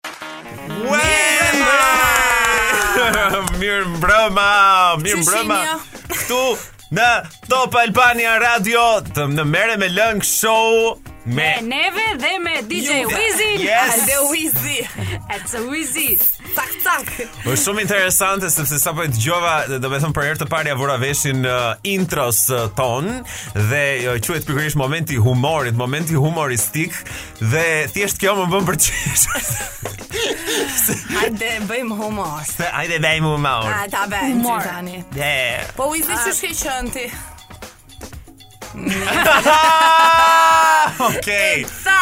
Mirë mbrëma, mirë mbrëma. Ktu në Top Albania Radio të në merre me lëng show me Me neve dhe me DJ Wizin Yes. Dhe Wizi. It's a Wizi Tak tak. Është shumë interesante sepse sapo e dëgjova, do të them për herë të parë ja vura veshin uh, intros uh, ton dhe uh, quhet pikërisht momenti i humorit, momenti humoristik dhe thjesht kjo më bën përqesh. Hajde bëjmë humor. Se ajde bëjmë humor. A ta bëjmë Humor. ti tani. Dhe Po Wizi që shke qënë ti? Okej. Sa?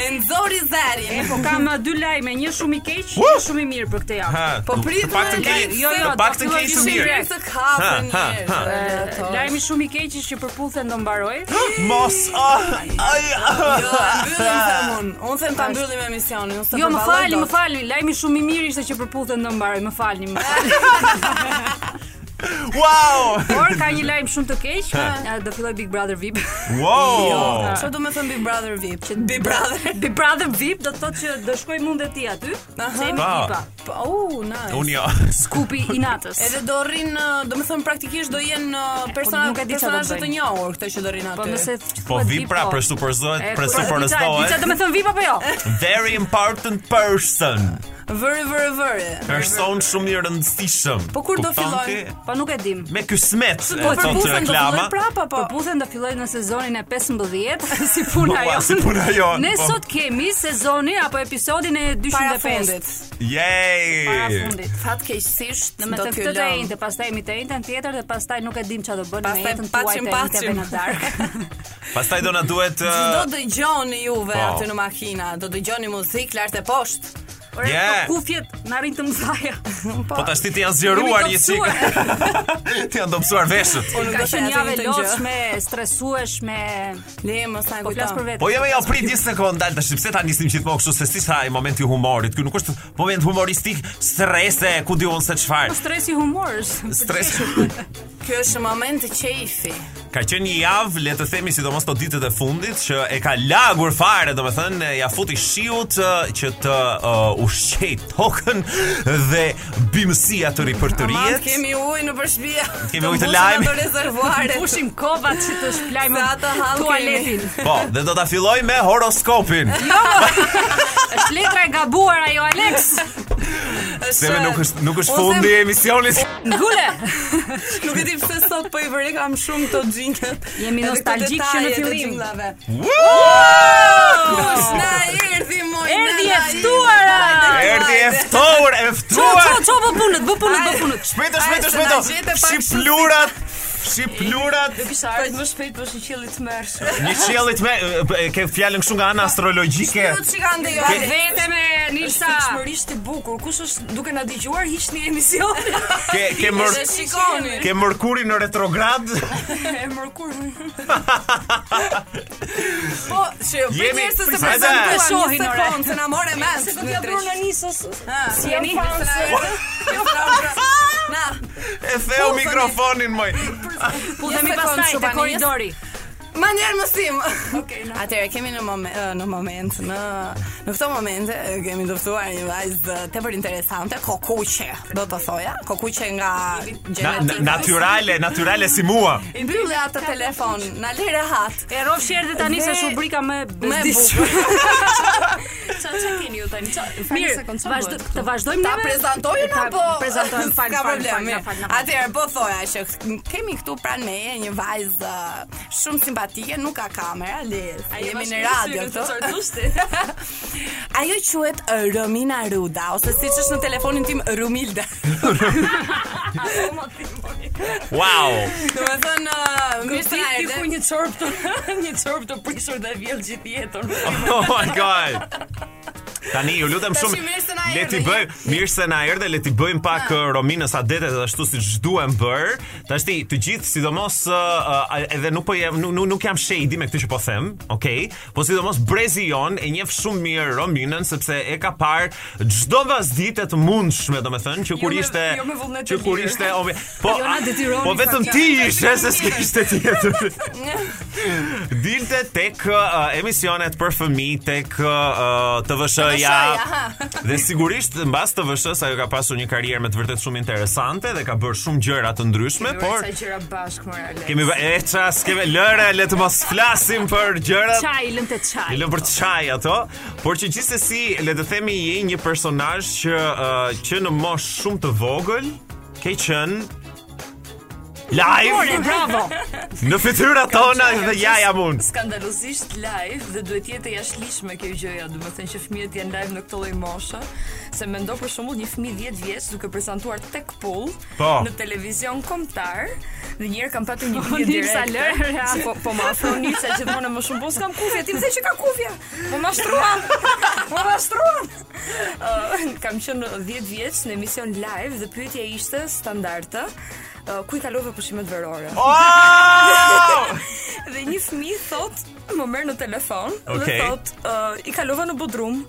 E nëzori zërin. Po kam uh, dy lajme, një shumë i keq, Woo! një shumë i mirë për këtë javë. Ha, Po të- prit të paktën më, ke, lajm, jo, jo, të do paktën filloj ke të shumë shih mirë. mirë. Të kapën Ha, ha, ha. njërë. Lajmi shumë i keq është që përputhen do mbaroj. Mos, ah, ai. Jo, e mbyllim them unë. Unë them ta mbyllim emisionin, unë se Jo, më përballoj falni, dot. më falni. Lajmi shumë i mirë ishte që përputhen do mbaroj. Më falni, më falni. Wow! Por ka një lajm shumë të keq, eh, do filloj Big Brother VIP. Jo, Wow! Ço do të thon Big Brother VIP? Që Big Brother. Big Brother VIP do të thotë që do shkoj mund dhe ti aty, se jemi Pa. ekipa. Po, oh, nice. Unë jo. Skupi i natës. Edhe do rrin, ë, do të thon praktikisht do jenë ë, persona Po, nuk e di çfarë do personazhe të bëjnë. njohur këto që do rrin aty. Po nëse thuhet Po vi pra po. presupozohet, E, di çfarë presupozohet do të thon VIP apo jo? very important person. vëri vëri vëri. Person shumë i rëndësishëm. Po kur do Kupton fillon? ti? Po nuk e dim. Me ky smet, Po e thonë që përputhen do fillojnë reklama. prapa po. Përputhen do filloj në sezonin e 15 si puna Po, jonë. si puna jonë, Ne po. sot kemi sezonin apo episodin e Para 205. fundit. Para Yay! fundit. Fatkeqësisht Në me do të t'ju këtë të lëm. ejnë, pastaj mi të ejnë tjetër dhe pastaj nuk e dim që do bënë me Pastaj jetën tuaj pacim të ejnë të pacim. në darkë. Pastaj do na duhet Do uh, dëgjoni juve Po. aty në makina, do dëgjoni muzikë lart e poshtë. Por e Yeah. të kufjet në rrinë të mëdhaja. Po tash ti të janë zgjeruar Jemi një sik. Ti janë dobësuar veshët. Unë Ka qenë javë Po, të lodhshme, stresueshme. Le mos na Po flas për kujto. vetë. Po jemi ja prit një sekond dal tash pse ta nisim gjithmonë kështu se si tha ai momenti i humorit. Ky nuk është moment humoristik, strese, ku diun se çfarë. Po stresi humorës. Stres. Ky është moment të qejfi. Ka qenë një javë, le të themi sidomos të ditët e fundit që e ka lagur fare, domethënë ja futi shiut ë, që të uh, ushqej tokën dhe bimësia të Aman, ripërtëriet. kemi ujë në përshpia. Kemi ujë të mbushim lajm. ato rezervuaret. Pushim kovat që të shplajmë Se ato hallë tualetin. Po, dhe do ta filloj me horoskopin. Është letra e gabuar ajo Alex. Se me nuk është nuk është Ose- fundi i emisionit. Ngule. Nuk e di pse sot po i vëre kam shumë këto xhinket. Jemi nostalgjik që në fillim. Po. Kush na erdhi moj? Erdhi nana e ftuara! erdhi, Erdi e hajde. ftuar, e Ço ço ftuar. ço bë punët, bë punët, bë punët. Shpejto, Ai, shpejto, se na shpejto. gjete pak Shqip kështu si- lurat. Shqip lurat. Kisha ardhur më shpejt po për shiqillit të mërshëm. Një qiellit me e, ke fjalën kështu nga ana astrologjike. Ju çka ndej? Vete me Nilsa. Shmërisht i bukur. Kush është duke na dëgjuar hiqni emisionin. Ke ke mër Dhe shikoni. ke mërkurin në retrograd. E mërkur. po, që për Jemi- njerëz se Hajde. prezentuam Të një shohin, sekond, ore. se na more mend. Se do t'ja bërë në nisës. Si jeni? Na, E theu mikrofonin moj. Pudhemi pastaj te korridori. Ma njerë mësim. Okej. Atëherë kemi në moment në moment në në këtë moment e, kemi doftuar një vajzë tepër interesante, kokuqe, do të thoja, kokuqe nga Na, na, gjenetika. naturale, naturale si mua. I mbyllë atë telefon, na le rehat. E rrofsh erdhi tani se Dhe- është rubrika më Me bezdisë. bukur. Mirë, vazhdo, të vazhdojmë Ta neve? prezantojnë Ta apo prezantojmë fal Ka fal problem. fal, mirë. fal, fal. Atëherë po thoja që k- kemi këtu pranë meje një vajzë uh, shumë simpatike, nuk ka kamera, le. Jemi në radio këtu. Ajo quhet Romina Ruda ose siç është në telefonin tim Rumilda. Wow. Domethënë ë, mirë se na erdhe. Ku një çorp të një çorp të prishur dhe vjell gjithë jetën. Oh my god. Tani ju lutem Tashi shumë. mirë se na Le ti erdhe, bëj, mirë se na erdhe, le ti bëjmë pak uh, Rominës adetet edhe ashtu siç duhem bër. Tash ti të gjithë sidomos uh, uh, edhe nuk po jam nuk, nuk- nuk jam shady me këtë që po them, okay? Po sidomos Brezi jon e njeh shumë mirë Rominën sepse e ka parë çdo vazhdite të mundshme, domethënë që kur me- ishte jo me vullnet që të kur lirë. ishte o, me- po Jo, na detyronin, po vetëm fakt. ti ishe se s'kishte tjetër. Dilte tek uh, emisionet për fëmi, tek uh, të vëshëja, shoja, ha. Dhe sigurisht mbas të VSH-s ajo ka pasur një karrierë me të vërtet shumë interesante dhe ka bërë shumë gjëra të ndryshme, por sa gjëra bashkë more Alex. kemi bë- e ças kemi lëre le të mos flasim për gjërat. Çaj, lëm të çaj. I lëm për çaj ato, por që gjithsesi le të themi je një personazh që ë, që në moshë shumë të vogël ke qenë Ore, live bravo. në fytyrat tona Kam qenë- dhe kam ja qenë jam unë. Skandalozisht live dhe duhet jetë e jashtëligjshme kjo gjëja, domethënë që fëmijët janë live në këtë lloj moshe, se mendo për shembull një fëmijë 10 vjeç duke prezantuar tek pull Po. në televizion kombëtar, dhe një herë kam patur një Po, video Nilsa, lërë, ja. Po, po më afron Nilsa gjithmonë e më shumë po s'kam kufje, ti më the që ka kufje. Po mashtruan. Po mashtruan. Ë, kam qenë 10 vjeç në emision live dhe pyetja ishte standarde. ë, ku i kalove pushimet verore? Oh! Dhe një fëmijë thot më merr në telefon Okej. dhe thot "Ë, i kalova në bodrum.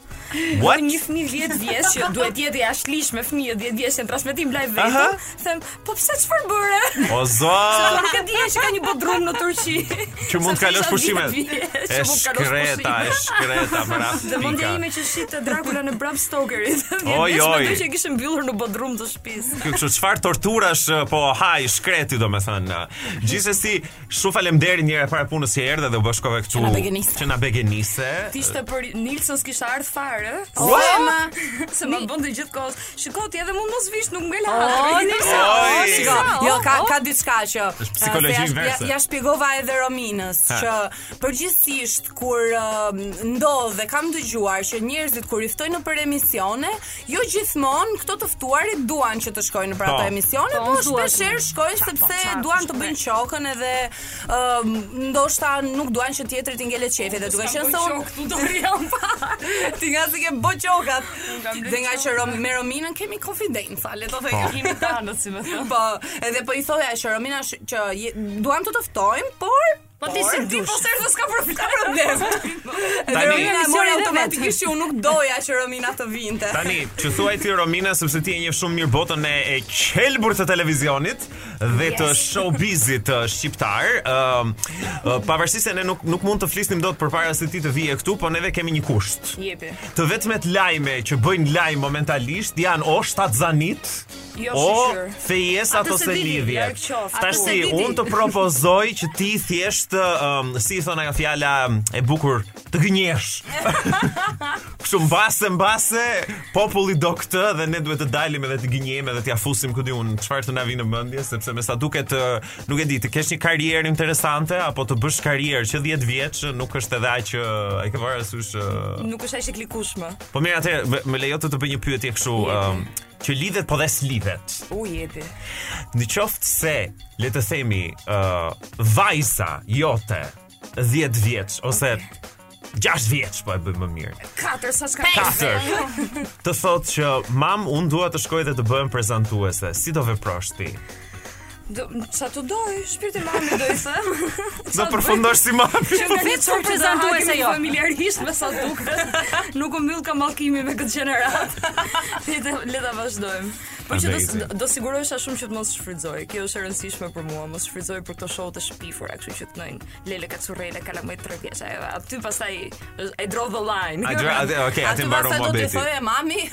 What? Dhe një fëmijë 10 vjeç që duhet jetë jashtëligjsh me fëmijë 10 vjeç në transmetim live vetëm, Aha. them, po pse çfarë bëre? O zot, Po nuk e di që ka një bodrum në Turqi. që mund të Sepse kalosh isha pushimet. 10 vjeç, E që mund të kalosh shkreta, e pushimet. shkreta, bravo. Dhe mundja pika. ime që shitë Dracula në Bram Stokerit. Oj, Oj, oj. oj. Mendoj që e kishim mbyllur në bodrum të shtëpisë. Kjo kështu çfarë torturash po haj shkreti domethënë. Gjithsesi, shumë faleminderit një herë para punës që erdhe dhe u bashkove këtu. Që na begeniste. Që na begenise. Ti ishte për Nilsson s'kisha ardh fare. Se ma, Se më bënte gjithkohë. Shikoj ti edhe mund mos vish, nuk ngel O, harri. Nilsa, Oj. o, shiko, Nilsa, jo, o, ka, o. ka diçka që... Është psikologji uh, se ja- inverse. Ja, ja shpjegova edhe Rominës, Ha. që përgjithsisht, kur uh, ndodh dhe kam dëgjuar që njerëzit kur i ftojnë në për emisione, jo gjithmonë këto të ftuarit duan që të shkojnë në për ato Po. emisione, Po, po unë dua shpeshherë të- shkojnë Qa- po, sepse qa- duan të shkoj. bëjnë qokën edhe uh, ndoshta nuk duan që tjetri t'i ngelet qefi dhe duke qenë se unë këtu dorë jam pa. ti nga si ke bë qokat. kam bërë Dhe nga që qokat. Rom- me Rominën kemi konfidenca, le të Po. thejmë. Kemi tanët, si më thënë. Po, edhe po i thoja që Romina sh- që je, duam të të ftojmë, por Po ti si dush. Po serdo s'ka problem. Ka problem. Edhe Tani- Romina e Emisionin mori e vet. automatikisht që unë nuk doja që Romina të vinte. Tani, që thuaj ti Romina sepse ti e njeh shumë mirë botën e, e qelbur të televizionit dhe të showbizit uh, shqiptar. Ëm ë, pavarësisht se ne nuk nuk mund të flisnim dot përpara se ti të vije këtu, po neve kemi një kusht. Jepi. Të vetmet lajme që bëjnë lajm momentalisht janë o shtatzanit, Jo, o shyqyr. fejesat Atë se ose diti, lidhje. larg qoftë. Tash Atë se si diti. unë të propozoj që ti thjesht um, si i thon ajo fjala um, e bukur të gënjesh. Kështu mbase mbase populli do këtë dhe ne duhet të dalim edhe të gënjejmë edhe t'ia fusim ku diun çfarë të na vinë në mendje sepse me sa duket ë, nuk e di të kesh një karrierë interesante apo të bësh karrierë që 10 vjeç nuk është edhe aq ë, e ke uh, parasysh ë, Nuk është aq e klikueshme. Po mirë atëherë, më- më lejo të të bëj një pyetje kështu, ëm, që lidhet po dhe s'lidhet. U jepi. Në qoftë se, le të themi, ë vajza jote 10 vjeç ose 6 vjeç po e bëj më mirë. Katër sa s'ka. Katër. Të thotë që mam, unë dua të shkoj dhe të bëhem prezantuese. Si do veprosh ti? Do ça të doj, shpirti i mami do i them. Do përfundosh si mami. Që nga një Përfit çfarë prezantuese prezantuese jo. jo. Familjarisht me sa duket. Nuk u mbyll kamallkimi me këtë gjenerat. Le ta le ta vazhdojmë. Po që do s- Amazing. do sigurohesha shumë që të mos shfrytëzoj. Kjo është e rëndësishme për mua, mos shfrytëzoj për këto show të shpifura, kështu që të nëjnë Lele Kacurrele, Kalamaj 3 vjeç. Aty pastaj ë, I draw the line. A dra- atë- Okej, atë Aty mbaron pastaj do t'i muhabeti. thoje mami,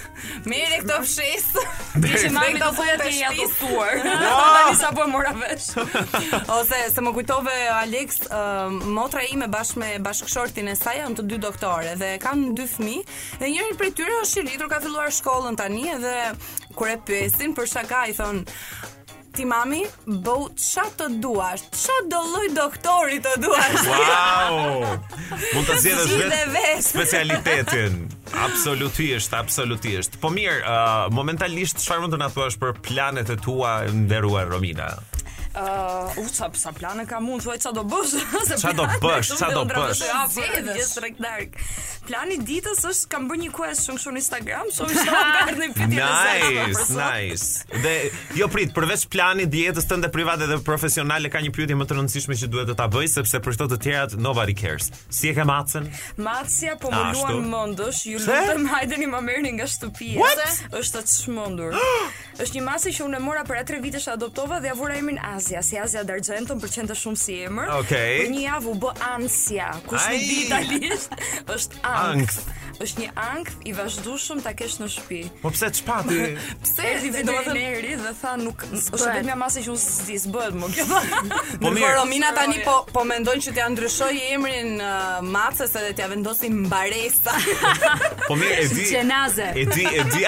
merre këto fshisë. Që mami do thoja të ti ja shtëpis. tutuar. Tani sa po e mora vesh. Ose se më kujtove Alex, ë, motra ime bashkë me bashkëshortin e saj janë të dy doktore dhe kanë dy fëmijë dhe njëri prej tyre është i rritur, ka filluar shkollën tani edhe kur e pyesin për shaka i thon Ti mami, bëu qa të duash, qa do lloj doktori të duash Wow! Mund ta zgjedhësh Zgjidhe vetë vetë. specialitetin. Absolutisht, absolutisht. Po mirë, uh, momentalisht çfarë mund të na thuash për planet e tua nderuar Romina? Uh, u ça sa plane kam unë, thuaj ça do bësh? Se Ça do plane bësh, shumë ça të do ëndra bësh? të hapur, Zgjedhësh. gjithë treg dark. Plani i ditës është kam bërë një question kështu në Instagram, shoh që kam bërë një pyetje të saktë për Nice, sot. nice. Dhe jo prit, përveç planit dietës tënde private dhe profesionale ka një pyetje më të rëndësishme që duhet të ta bëj sepse për këto të tjerat nobody cares. Si e ke macën? Macja po më Ashtu. luan mendësh, ju Pse? lutem hajdeni ma merrni nga shtëpia. What? Është të çmendur. është një masë që unë e mora para 3 vitesh adoptova dhe ja vura emrin Azia, si Azia Dargenton, pëlqente shumë si emër. Okej. Për një javë u bë Ansia, kush nuk Ai. di italisht, është Angth. ankth. është një ankth i vazhdueshëm ta kesh në shtëpi. Po pse çpati? Pse erdhi veterineri dhe tha nuk është vetëm masi që unë s'di s'bëhet më kjo. Po Po mirë. Romina tani po po mendojnë që t'ja ndryshoj emrin uh, Macës edhe t'ja vendosin Mbaresa. Po mirë, e di. Qenaze. E di, e di,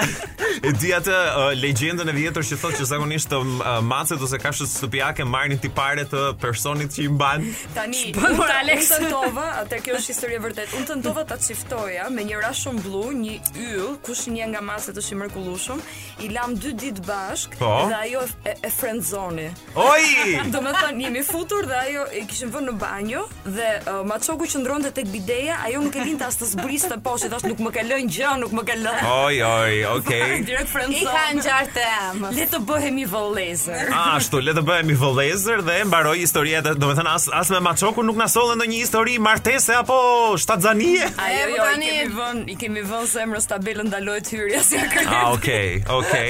e di atë uh, legjendën e vjetër që thotë që zakonisht uh, macet ose kafshët shtëpiake marrin tipare të personit që i mban. Tani, Shpëngor unë të- Alex. unë tentova, atë kjo është histori e vërtet. Unë tentova ta çiftoja me një rash shumë blu, një yll, kush një nga maset është i mrekullueshëm, i lam 2 ditë bashk Po. dhe ajo e, e friendzoni. Oj! Do me thënë, jemi futur dhe ajo e kishim vënë në banjo Dhe uh, ma qoku që ndronë tek bideja Ajo nuk e linte as të zbrisë të poshtë Thash nuk më ka lënë gjë, nuk më ka lënë Oj, oj, okay. Direkt I ka friendzone ngjarë të emër. Le të bëhemi vëllëzër Ashtu, le të bëhemi vëllëzër dhe e mbaroj historia, do të thënë as as me Maçokun nuk na sollën ndonjë histori martese apo shtatzanie. Ajo, E, po jo, i tani- kemi vënë, i kemi vënë zemrës tabelën ndalohet hyrja si a kërë. Ah, okay, okay.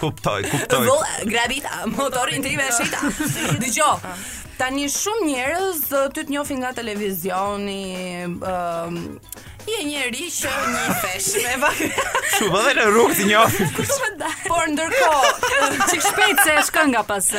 Kuptoj, kuptoj. Vëll, grabita, motorin tim e shita. Dgjoj. Tani shumë njerëz ë, ty të njohin nga televizioni, ëm je njeri që një fesh me vak- Shumë edhe në rrugë ti njohim. Por ndërkohë, Çik shpejt se e shkon nga pas.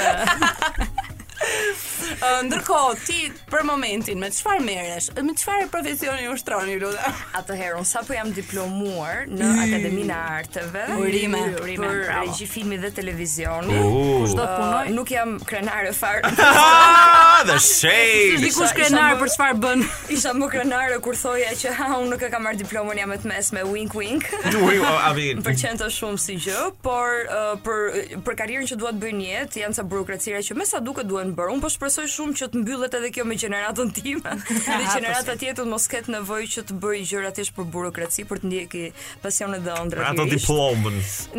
ë, ndërkohë ti për momentin me çfarë merresh? Me çfarë profesioni ushtroni lutem? Atëherë, unë sapo jam diplomuar në Akademinë e Arteve Urime, urime, Mm. për bravo. regji filmi dhe televizioni. U. Kushdo punoj, nuk jam krenare fare. Ah, the shade. Dikush krenar për çfarë bën. Isha më krenare kur thoja që ha, unë nuk e kam marrë diplomën, jam e të mesme, wink wink. Ui, I mean, Më pëlqen të shumë si gjë, por uh, për për karrierën që dua të bëj në jetë, janë ca burokracira që me sa duket duhen bërë. Unë po shpresoj shumë që të mbyllet edhe kjo me gjeneratën time. dhe gjenerata tjetër mos ketë nevojë që të bëj gjëra thjesht për burokraci, për të ndjeki pasionet dhe ëndrat. ato lirisht. diplomën.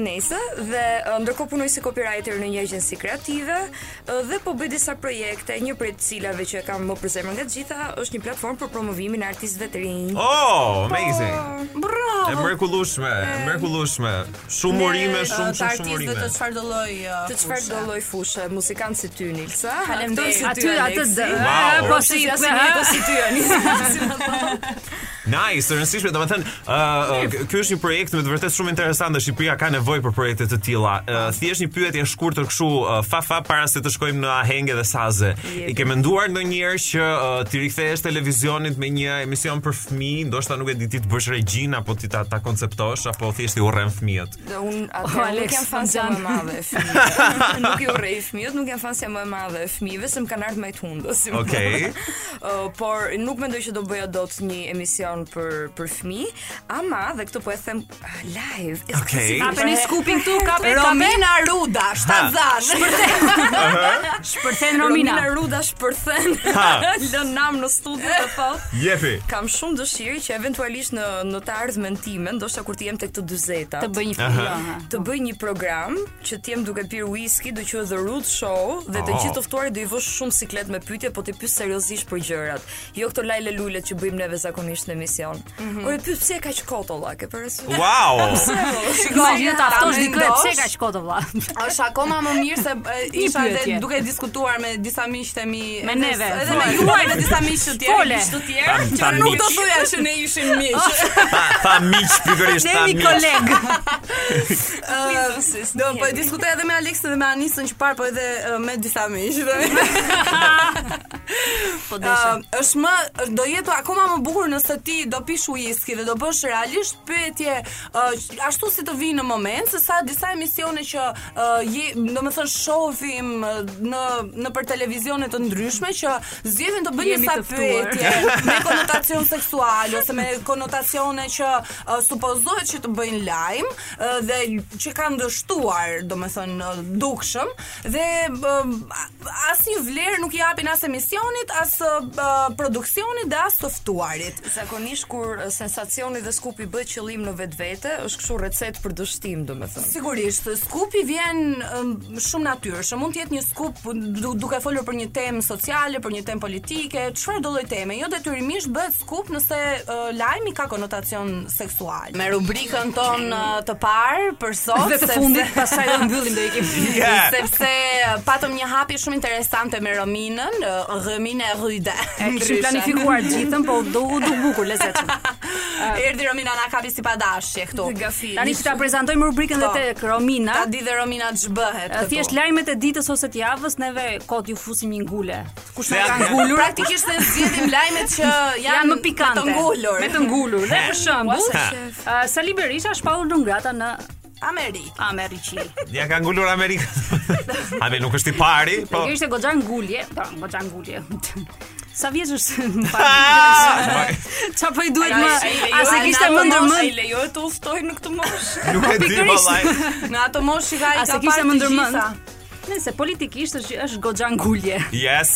Nëse dhe uh, ndërkohë punoj si copywriter në një agjenci kreative uh, dhe po bëj disa projekte, një prej të cilave që e kam më për zemër nga të gjitha është një platformë për promovimin e artistëve të rinj. Oh, amazing. E Bravo. mrekullueshme, e mrekullueshme. Shumë urime, shumë shumë shumë artistët urime. të çfarë do lloj ë, Të çfarë do fushë? lloj fushë, muzikanë si ty Nilsa, Faleminderit. aktorë Aty atë Aleksi. dë. Wow. Po si Ja si po- një do si ty Anis. Nice, të rëndësishme, do të thënë, ë, ë, ky është një projekt me të vërtetë shumë interesant dhe Shqipëria ka nevojë për projekte të tilla. Ë, Po. Thjesht një pyetje e shkurtër kështu, ë, fa fa para se të shkojmë në ahenge dhe saze. I ke menduar ndonjëherë që ë, ti rikthehesh televizionit me një emision për fëmijë, ndoshta nuk e di ti të bësh regjin apo ti ta, ta konceptosh apo thjesht i urren fëmijët. Dhe unë atë O, Alex, nuk jam fansja Xhan. më e madhe e fëmijëve. nuk i urrej fëmijët, nuk jam fansja më e madhe e fëmijëve, se më kanë ardhur më të hundës. si më Okej. thonë. Ë, por nuk mendoj që do bëja dot një emision për për fëmijë, ama dhe këtë po e them ah, live. ekskluzivisht. Kapeni skupin këtu, kapet, kapet. Romina Ruda, shtatzan. Shpërthen Romina Romina. Ruda shpërthen. Ha. Lën nam në studio të thotë. Jepi. Kam shumë dëshirë që eventualisht në në të ardhmen time, ndoshta kur të jem tek të 40-ta, Të bëj një fjalë. të bëj një program që të jem duke pirë whisky, do quhet The Root Show dhe të Oh. gjithë të ftuarit do i vësh shumë siklet me pyetje, po ti pyes seriozisht për gjërat. Jo këto lajle lule që bëjmë neve zakonisht në emision. Mhm. Kur e pyet pse e ka që kotolla, ke parasysh? Wow. Imagino ta ftosh Ta dikë mendosh? pse ka shkoto vlla. Është akoma më mirë se e, isha pyetje. edhe duke diskutuar me disa miq të mi. Me edhe- neve. Edhe me Fol. juaj me disa miq të tjerë. Fole. miq të Ta, tjerë. ta Nuk miq, do thoja që ne ishim miq. ta, ta miq pikërisht Ne ta jemi miq. koleg. Do po e diskutoj edhe me Alexën dhe me Anisën që parë, po edhe e, me disa miq. Po Ëm, është më është- do jetë akoma më bukur nëse ti do pish whisky dhe do bësh realisht pyetje ë, q- ashtu si të vinë në moment, se sa disa emisione që uh, je, domethënë shohim ë, në në për televizione të ndryshme që zgjedhin të bëjnë Jemi disa të ftuar. pyetje me konotacion seksual ose me konotacione që ë, supozohet që të bëjnë lajm ë, dhe që kanë dështuar, domethënë ë, dukshëm dhe ë, asnjë vlerë nuk i japin as emisionit, as ë, produksionit dhe as të ftuarit. Zakonisht kur eh, sensacioni dhe skupi bëhet qëllim në vetvete, është kështu recetë për dështim, domethënë. Sigurisht, skupi vjen ëm, shumë natyrshëm. Mund të jetë një skup du, duke folur për një temë sociale, për një temë politike, çfarë do lloj teme. Jo detyrimisht bëhet skup nëse uh, lajmi ka konotacion seksual. Me rubrikën ton ë, të parë për sot Dhe të sepse- fundit pastaj do mbyllim do ikim. Yeah. sepse ë, patëm një hapi shumë interesante me Rominën, ë, Romina Rude. E kishim planifikuar gjithën, po do u duk bukur lezetshëm. Erdi Romina na kapi si padashje këtu. Gafi. Tani që ta prezantojmë rubrikën dhe Po. tek Romina. Ta di po. dhe Romina ç'bëhet e, këtu. Thjesht lajmet e ditës ose të javës neve kot ju fusim një ngule. Kush Ne na ka atë- ngulur? Praktikisht ne zgjedhim lajmet që janë Janë më pikante. me të ngulur. Me të ngulur. Dhe për shembull, Ha. ë, Sali Berisha shpallur në ngrata në Amerikë. Amerikë. Ja ka ngulur Amerikën. A me nuk është i pari, po. Po. Kjo ishte goxha ngulje, po, goxha ngulje. Sa vjeç është? më Ah! pak. Ça po i Pra, duhet më? A se kishte Ana më Ai ndërmend? lejohet të uftoj në këtë moshë. Nuk e di po, pikërisht. vallaj. Në ato moshë ka A ai se ka kishte parë më të ndërmend? gjitha. Nëse politikisht është është goxha ngulje. Yes.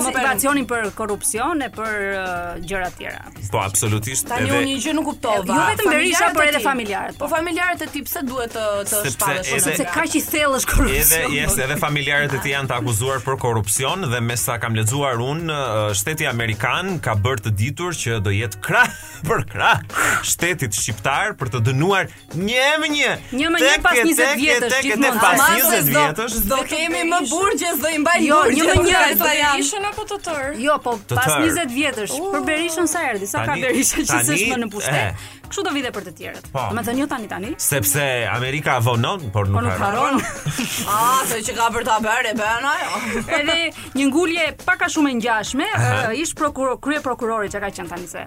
Super. motivacionin për korrupsion e për uh, gjëra tjera. Po absolutisht Tani unë një edhe gjë nuk kuptova. Jo vetëm Berisha, Familjarët por e edhe ti. familjarët, po. Po familjarët e ti pse duhet të të Sepse shpallesh edhe- Se kaq i thellë është korrupsion. Edhe yes, edhe familjarët e tij janë të akuzuar për korrupsion dhe me sa kam lexuar unë, ë, shteti amerikan ka bërë të ditur që do jetë krah për krah shtetit shqiptar për të dënuar një më një. Një më një Tek e pas 20 tek e vjetësh tek e tek gjithmonë. Pas Ama 20 vjetësh. Do kemi më burgjes do i mbaj Jo, një më një, sa janë. Ishën apo të tërë? Jo, po Të pas tërë. 20 vjetësh, për Berishën sa erdhi, sa ka Tani- Berisha që tani- s'është më në e. pushtet. Kështu do vite për të tjerët. Po. Domethënë jo tani tani. Sepse Amerika vonon, por Po nuk nuk haron. haron. Ah, se që ka për ta bërë e bën ajo. Edhe një ngulje pak a shumë e ngjashme, ë, ish prokuror, krye prokurori që ka qenë tani se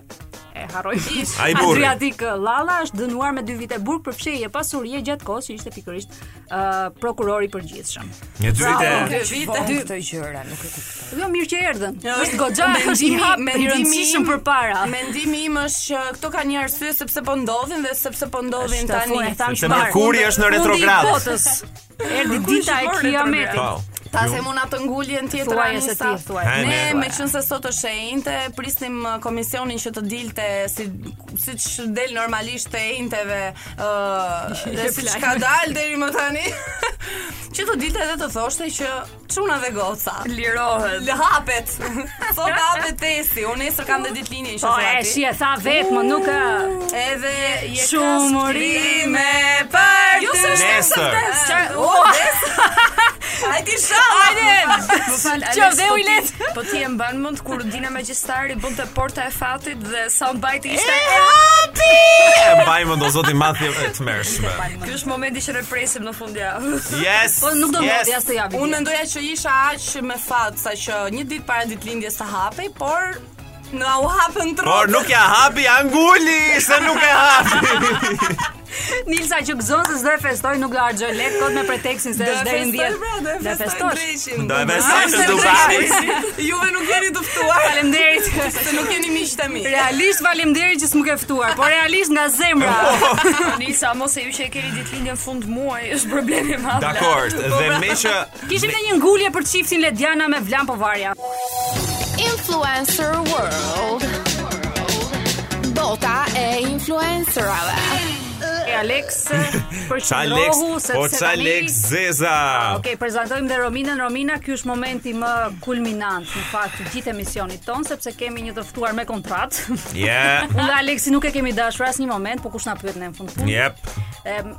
e harroj. Ai burri. Adriatik Lalla është dënuar me 2 vite burg për fshehje pasurie gjatë kohës që ishte pikërisht ë, prokurori i përgjithshëm. Një dy vite. Dy vite. Dy këto gjëra, nuk e kuptoj. Jo mirë që erdhën. Jo, Është goxha është një hap i rëndësishëm përpara. Mendimi im është që këto ka një arsye sepse po ndodhin dhe sepse po ndodhin Është tani. fun, e tham Sepse që parë. Merkuri është në Fundi i retrograd. botës. Erdhi dita e bërë kiametit. Po. Ta se mund atë nguljen tjetër Thuaje Anisa. se ti, thuaje. Ha, Ne ne. me qënë se sot është e inte, prisnim uh, komisionin që të dilte si, si që del normalisht të e inteve uh, dhe si që ka dalë deri më tani që të dilte dhe të thoshte që çuna dhe goca Lirohet. lë hapet sot hapet tesi unë nesër kam dhe ditë linjën që Po e shi e tha vetë, më nuk e... edhe je ka Shumërime për Jo, se është Nesër. Qa- O, Hajde shala Më fal, Qo, Alex, dhe po u ti- let. Po ti e mban mend kur Dina Magjestari bënte porta e fatit dhe soundbite ishte E mbaj mend o zoti madhje e tmerrshme. Ky është momenti që ne presim në fund javë. Yes. Po nuk do më yes. yes. jasë të japi. Unë mendoja që isha aq me fat sa që një ditë para ditëlindjes të hapej, por na u hapën Por trot. nuk ja hapi anguli, se nuk e hapi. Nilsa që gëzon se s'do e festoj, nuk do argjoj lek kot me preteksin se është deri në 10. Do e festosh. ndreqin. Do e Ah, besoj se në Dubai. Juve nuk jeni të ftuar, Faleminderit. se nuk jeni miq të mi. Realisht faleminderit që s'mu ke ftuar, por realisht nga zemra. Nisa, Po, mos e ju që e keni ditëlindjen fund muaj, është problemi i madh. Dakor, dhe me që Kishim ne një ngulje për çiftin Lediana me Vlan Povarja. Influencer World Bota e influencerave E Alex për Alex, qëndrohu sepse po tani- Alex Zeza. Okej, prezantojmë dhe Rominën. Romina, ky është momenti më kulminant në fakt të gjithë emisionit ton sepse kemi një të ftuar me kontratë. Yeah. Unë dhe Aleksi nuk e kemi dashur asnjë moment, po kush na pyet ne në fund fund. Yep. Em,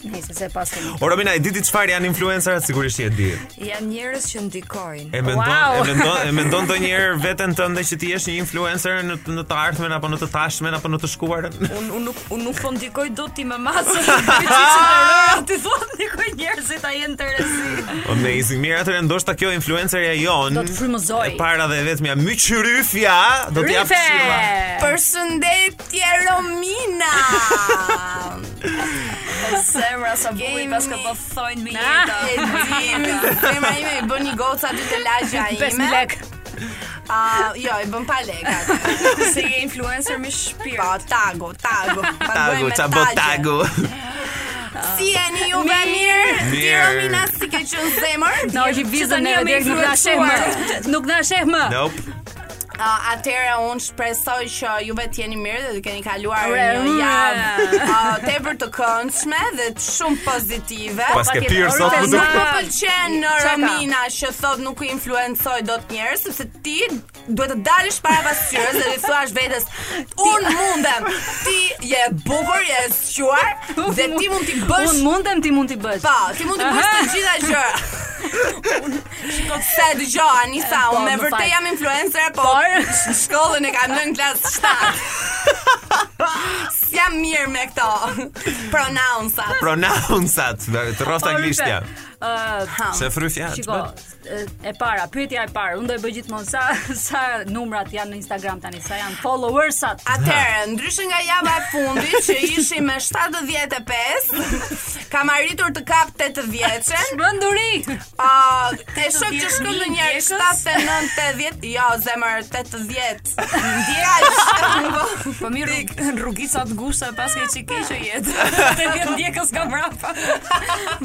Nëse se pas kemi. O Po, Romina, e diti çfarë janë influencerat sigurisht që e di. Janë njerëz që ndikojnë. E mendon, Wow. e mendon, e mendon ndonjëherë veten tënde që ti je një influencer në në të ardhmen apo në të tashmen apo në të shkuarën? Unë un nuk un nuk po ndikoj dot ti me masë. Ti ti thua ndikoj njerëzit ai interesi. Po, Amazing. Mirë, atëherë ndoshta kjo influencerja jon. Do të frymëzoj. e Para dhe vetmja myç ryfja, do të jap Rife! këshilla. Përshëndetje Romina. Zemra sa bukur Kemi- pas ka po thojnë me Na, jetë. E di, zemra ime i bën një goca ditë lagja ime. 5.000 lek. Ah, jo, i bën pa lekë. atë. Se je influencer me shpirt. Pa, tago, tago. Tagu, ça bë tagu. Si jeni ju me mirë? Mirë. Ti Romina si ke qenë zemër? Na u vizën tani neve jam direkt nuk na sheh më. Nuk na sheh më. Nope. Uh, atëre unë shpresoj që juve të jeni mirë dhe të keni kaluar Ure, një ure. javë uh, tepër të këndshme dhe të shumë pozitive. Pas ke Patjetër, pirë sot orë, më Nuk duket. më Na- pëlqen në Çka ka? Romina që thot nuk i influencoj dot njerëz sepse ti duhet të dalësh para pasqyrës dhe të thuash vetes un mundem. Ti je bukur, je sqaruar dhe ti mund t'i bësh Unë mundem ti mund t'i bësh. Po, ti mund të bësh të gjitha gjëra. Shikoj se dëgjoj Anisa, po, unë me më vërtet fal. jam influencer, por sh- shkollën e kam lënë klasë 7. S'jam mirë me këto pronounsa. Pronounsat, të rrost anglishtja. Ë, Se fry fjalë. Shiko, e- e para, pyetja e parë, unë do e bëj gjithmonë sa sa numrat janë në Instagram tani, sa janë followersat. Atëherë, ndryshe nga java e fundit që ishim me 75, kam arritur të kap 80-vjeçën. Brënduri. Ah, e shoh që shkon në një 79 80, jo zemër 80. Ndjekaj. Po mirë, në rrugica të ngushta pas ke çike që jetë. Te vjen ndjekës nga mbrapa.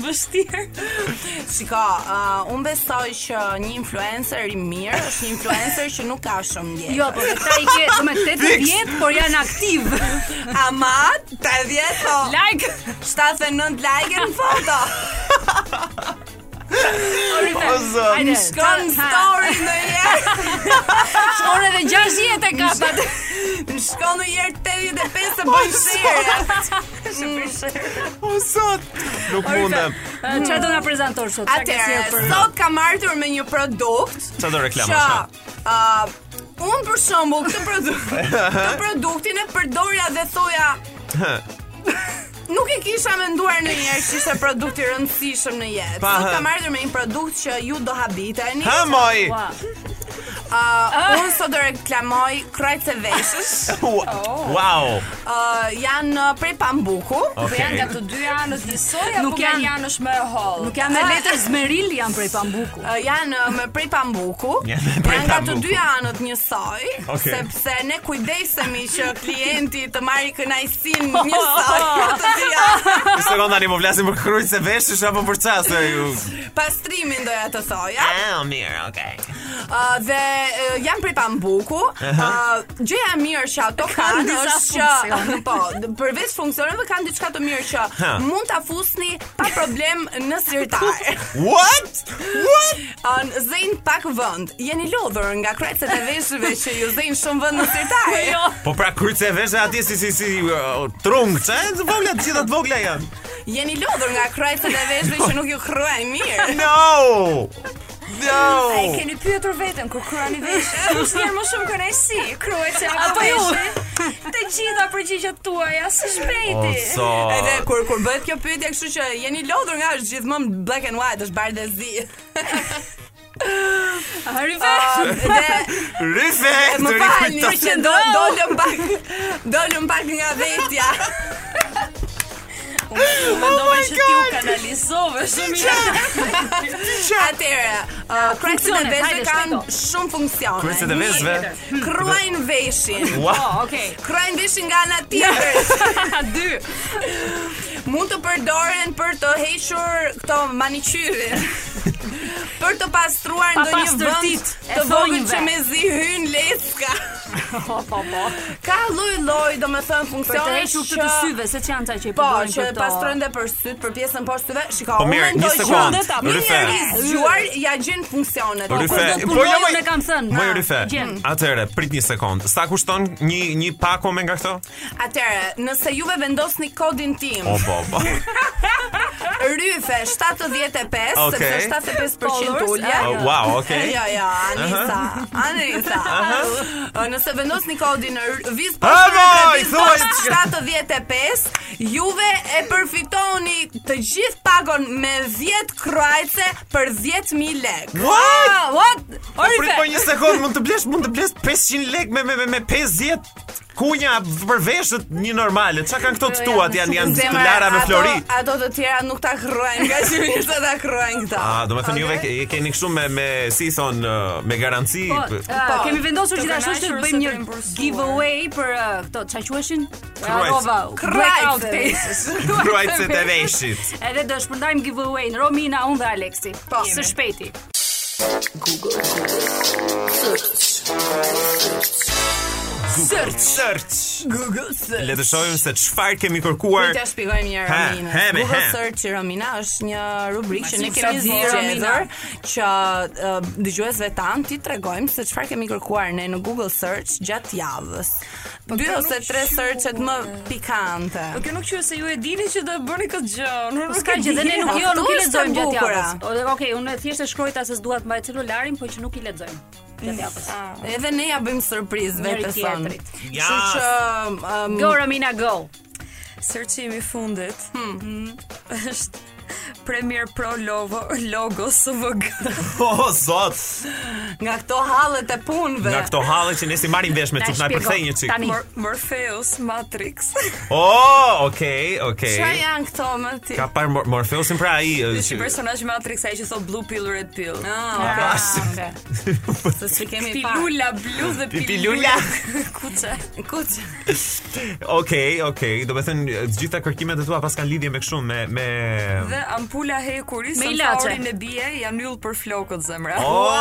Vështirë. Shiko, uh, unë besoj që një influencer i mirë është një influencer që nuk ka shumë ndjekë. Jo, po këta i ke, do me 80 vjet, por janë aktiv. Ama 80 po. Like. 79 like në foto. Orife. O, zot. Hajde, Shkon në ha, story ndonjëherë. Shkon edhe 60 e kapat. Në shkon në herë 85 Po, të bëj share. O sot, nuk mundem. Çfarë do na prezantosh sot? Çfarë ke sjellë Atëherë, për sot kam ardhur me një produkt Çfarë do reklamosh? që ha? uh, unë për shembull këtë produkt, këtë produktin e përdorja dhe thoja Nuk e kisha menduar në njerë që ishte produkt i rëndësishëm në jetë. Pa, Sot ha. kam ardhur me një produkt që ju do habiteni. Ha moj. Ua, Uh, unë sot do reklamoj krajt e veshës. Wow. Uh, janë uh, prej pambuku. Oh. Po janë nga të dy anët njësoj apo Nuk nga janë- një anë është më e hollë? Nuk janë me letër zmeril, janë prej pambuku. Uh, janë uh, me prej pambuku. Janë me prej nga të pambuku. dy anët njësoj, Okej. sepse ne kujdesemi që klienti të marrë kënaqësinë njësoj nga të dy anët. Një sekond tani po flasim për krujt se veshësh apo për çastë ju. Pastrimin doja të thoja. Ah, mirë, okay. Uh, dhe uh, jam prej Pambuku. Eh? Uh, gjëja e mirë që ato kanë disa është që po, d- përveç funksioneve kanë diçka të mirë që Ha. mund ta fusni pa problem në sirtar. What? What? Uh, zëjnë pak vend. Jeni lodhur nga krecet e veshëve që ju zëjnë shumë vend në sirtar. jo. Po pra krujt se veshë atje si si si uh, trung, çe? Të vogla, të gjitha të vogla janë. Jeni lodhur nga krecet e veshëve që nuk ju kruajnë mirë. No! No! Ai keni pyetur veten kur kurani veshë. Kush njerë më shumë kënaqësi? Kruajt se apo Apo ju? veshë? Të gjitha përgjigjet tuaja së O shpejti. sot. Edhe kur kur bëhet kjo pyetje, kështu që jeni lodhur nga është gjithmonë black and white, është bardhë e zi. Arife. Uh, dhe Rife, të Më falni, rikujtoj. që do dolëm pak. Dolëm pak nga vetja. Unë mendova që ti u kanalizove shumë mirë. Atëre, uh, kryeset e Funksione, vezëve hajde, kanë shpejto. shumë funksione. Kryeset e Një, Po. vezëve? Kruajnë veshin. Wow. Oh, okay. Kruajnë veshin nga ana tjetër. Dy. Mund të përdoren për të hequr këto maniqyrin. për të pastruar Pa ndonjë vend pastërtit e të vogël thonjve. që me zi hyn leska. Po, po, po. Ka lloj-lloj, domethënë Për të funksione hequr këtë të që- syve, se që janë ca që i Po, përdorin që për to. pastrojnë dhe për syt, për pjesën poshtë syve. Shiko, Po unë mirë, mendoj një që sekond, ndetë apo Ryfe. njerëz zgjuar ja gjën funksionet. Ryfe. Kur do të Po, jo, punojnë, moj- ne kam thënë. Moj na, Rife, Mm. gjen. atëre, prit një sekond. Sa kushton një një pako me nga këto? Atëre, nëse juve vendosni kodin tim, O po po. Ryfe 75, sepse Okej. Po, 75% ulje. Oh, wow, okay. Jo, jo, Anisa, Anisa. Uh, Nëse vendosni kodin r- viz po Ah, moj, viz thuaj. poshtë 75, juve e përfitoni të gjithë pagon me 10 krajce për 10000 lekë. What? Ah, what? Po prit po Orife. një sekond, mund të blesh, mund të blesh 500 lekë me me me, me 50 kunja për veshët një normale. Çka kanë këto të tuat? Janë janë të Zemra, lara me ato- flori. Ato të tjera nuk ta kruajnë, nga që mirë se ta kruajnë këta. Ah, do të thënë juve ke- e keni kështu me me si thon uh, me garanci. Po, p- eh, Po, kemi vendosur të gjithashtu që të kënaqur ose bëjmë një të imbursuar. giveaway për eh, këto çfarë quheshin? Eh, Krajt. Rova, uh, blackout Krajt. faces. Kruajtësit e veshit. Edhe do shpërndajmë giveaway në Romina, unë dhe Aleksi. Po. Së shpejti. Google Search. Google Search. Le të shohim se çfarë kemi kërkuar. Unë t'ja shpjegoj mirë Ha, Rominën. ha, me, Google ha. Search i Romina është një rubrikë që ne kemi Masi, sa di, zgjedhur që uh, dëgjuesve tan ti tregojmë se çfarë kemi kërkuar ne në Google Search gjatë javës. Dy kjo ose Po nuk tre quhet. searchet më pikante. Po kjo nuk qyhet se ju e dini që do e bëni këtë gjë. Unë nuk Ska e gjë dhe di. ne nuk jo nuk i Këtu është e lexojmë gjatë bukura. javës. O, Okej, unë thjesht e shkruajta se s'dua të mbaj celularin, por që nuk i lexojmë gjatë javës. Edhe ne ja bëjmë surprizë Njëri vetes son. tjetrit. Ja. Kështu që um, Go Romina go. Searchimi i fundit. Hmm. Mhm. Është Premier Pro Logo Logo SVG. Oh zot. nga këto hallet e punëve. Nga këto halle që ne si marrim vesh me Na çup na shpjego. përkthej një çik. Tani. Mor- Morpheus Matrix. Oh, okay, okay. Çfarë janë këto më ti? Ka par Mor- Morpheusin pra ai e, Si që- personazh Matrix ai që thot blue pill red pill. Ah, okay. Se si kemi parë. Pilula blu dhe Pi- pilula pilula. kuçe. Kuç. Okej, okej. Do të thënë e, të gjitha kërkimet e tua pas kanë lidhje me kështu me me Dhe ampula hekuris, Me ilaçe. sanfaurin e bie, janë yll për flokët zemra. Oh,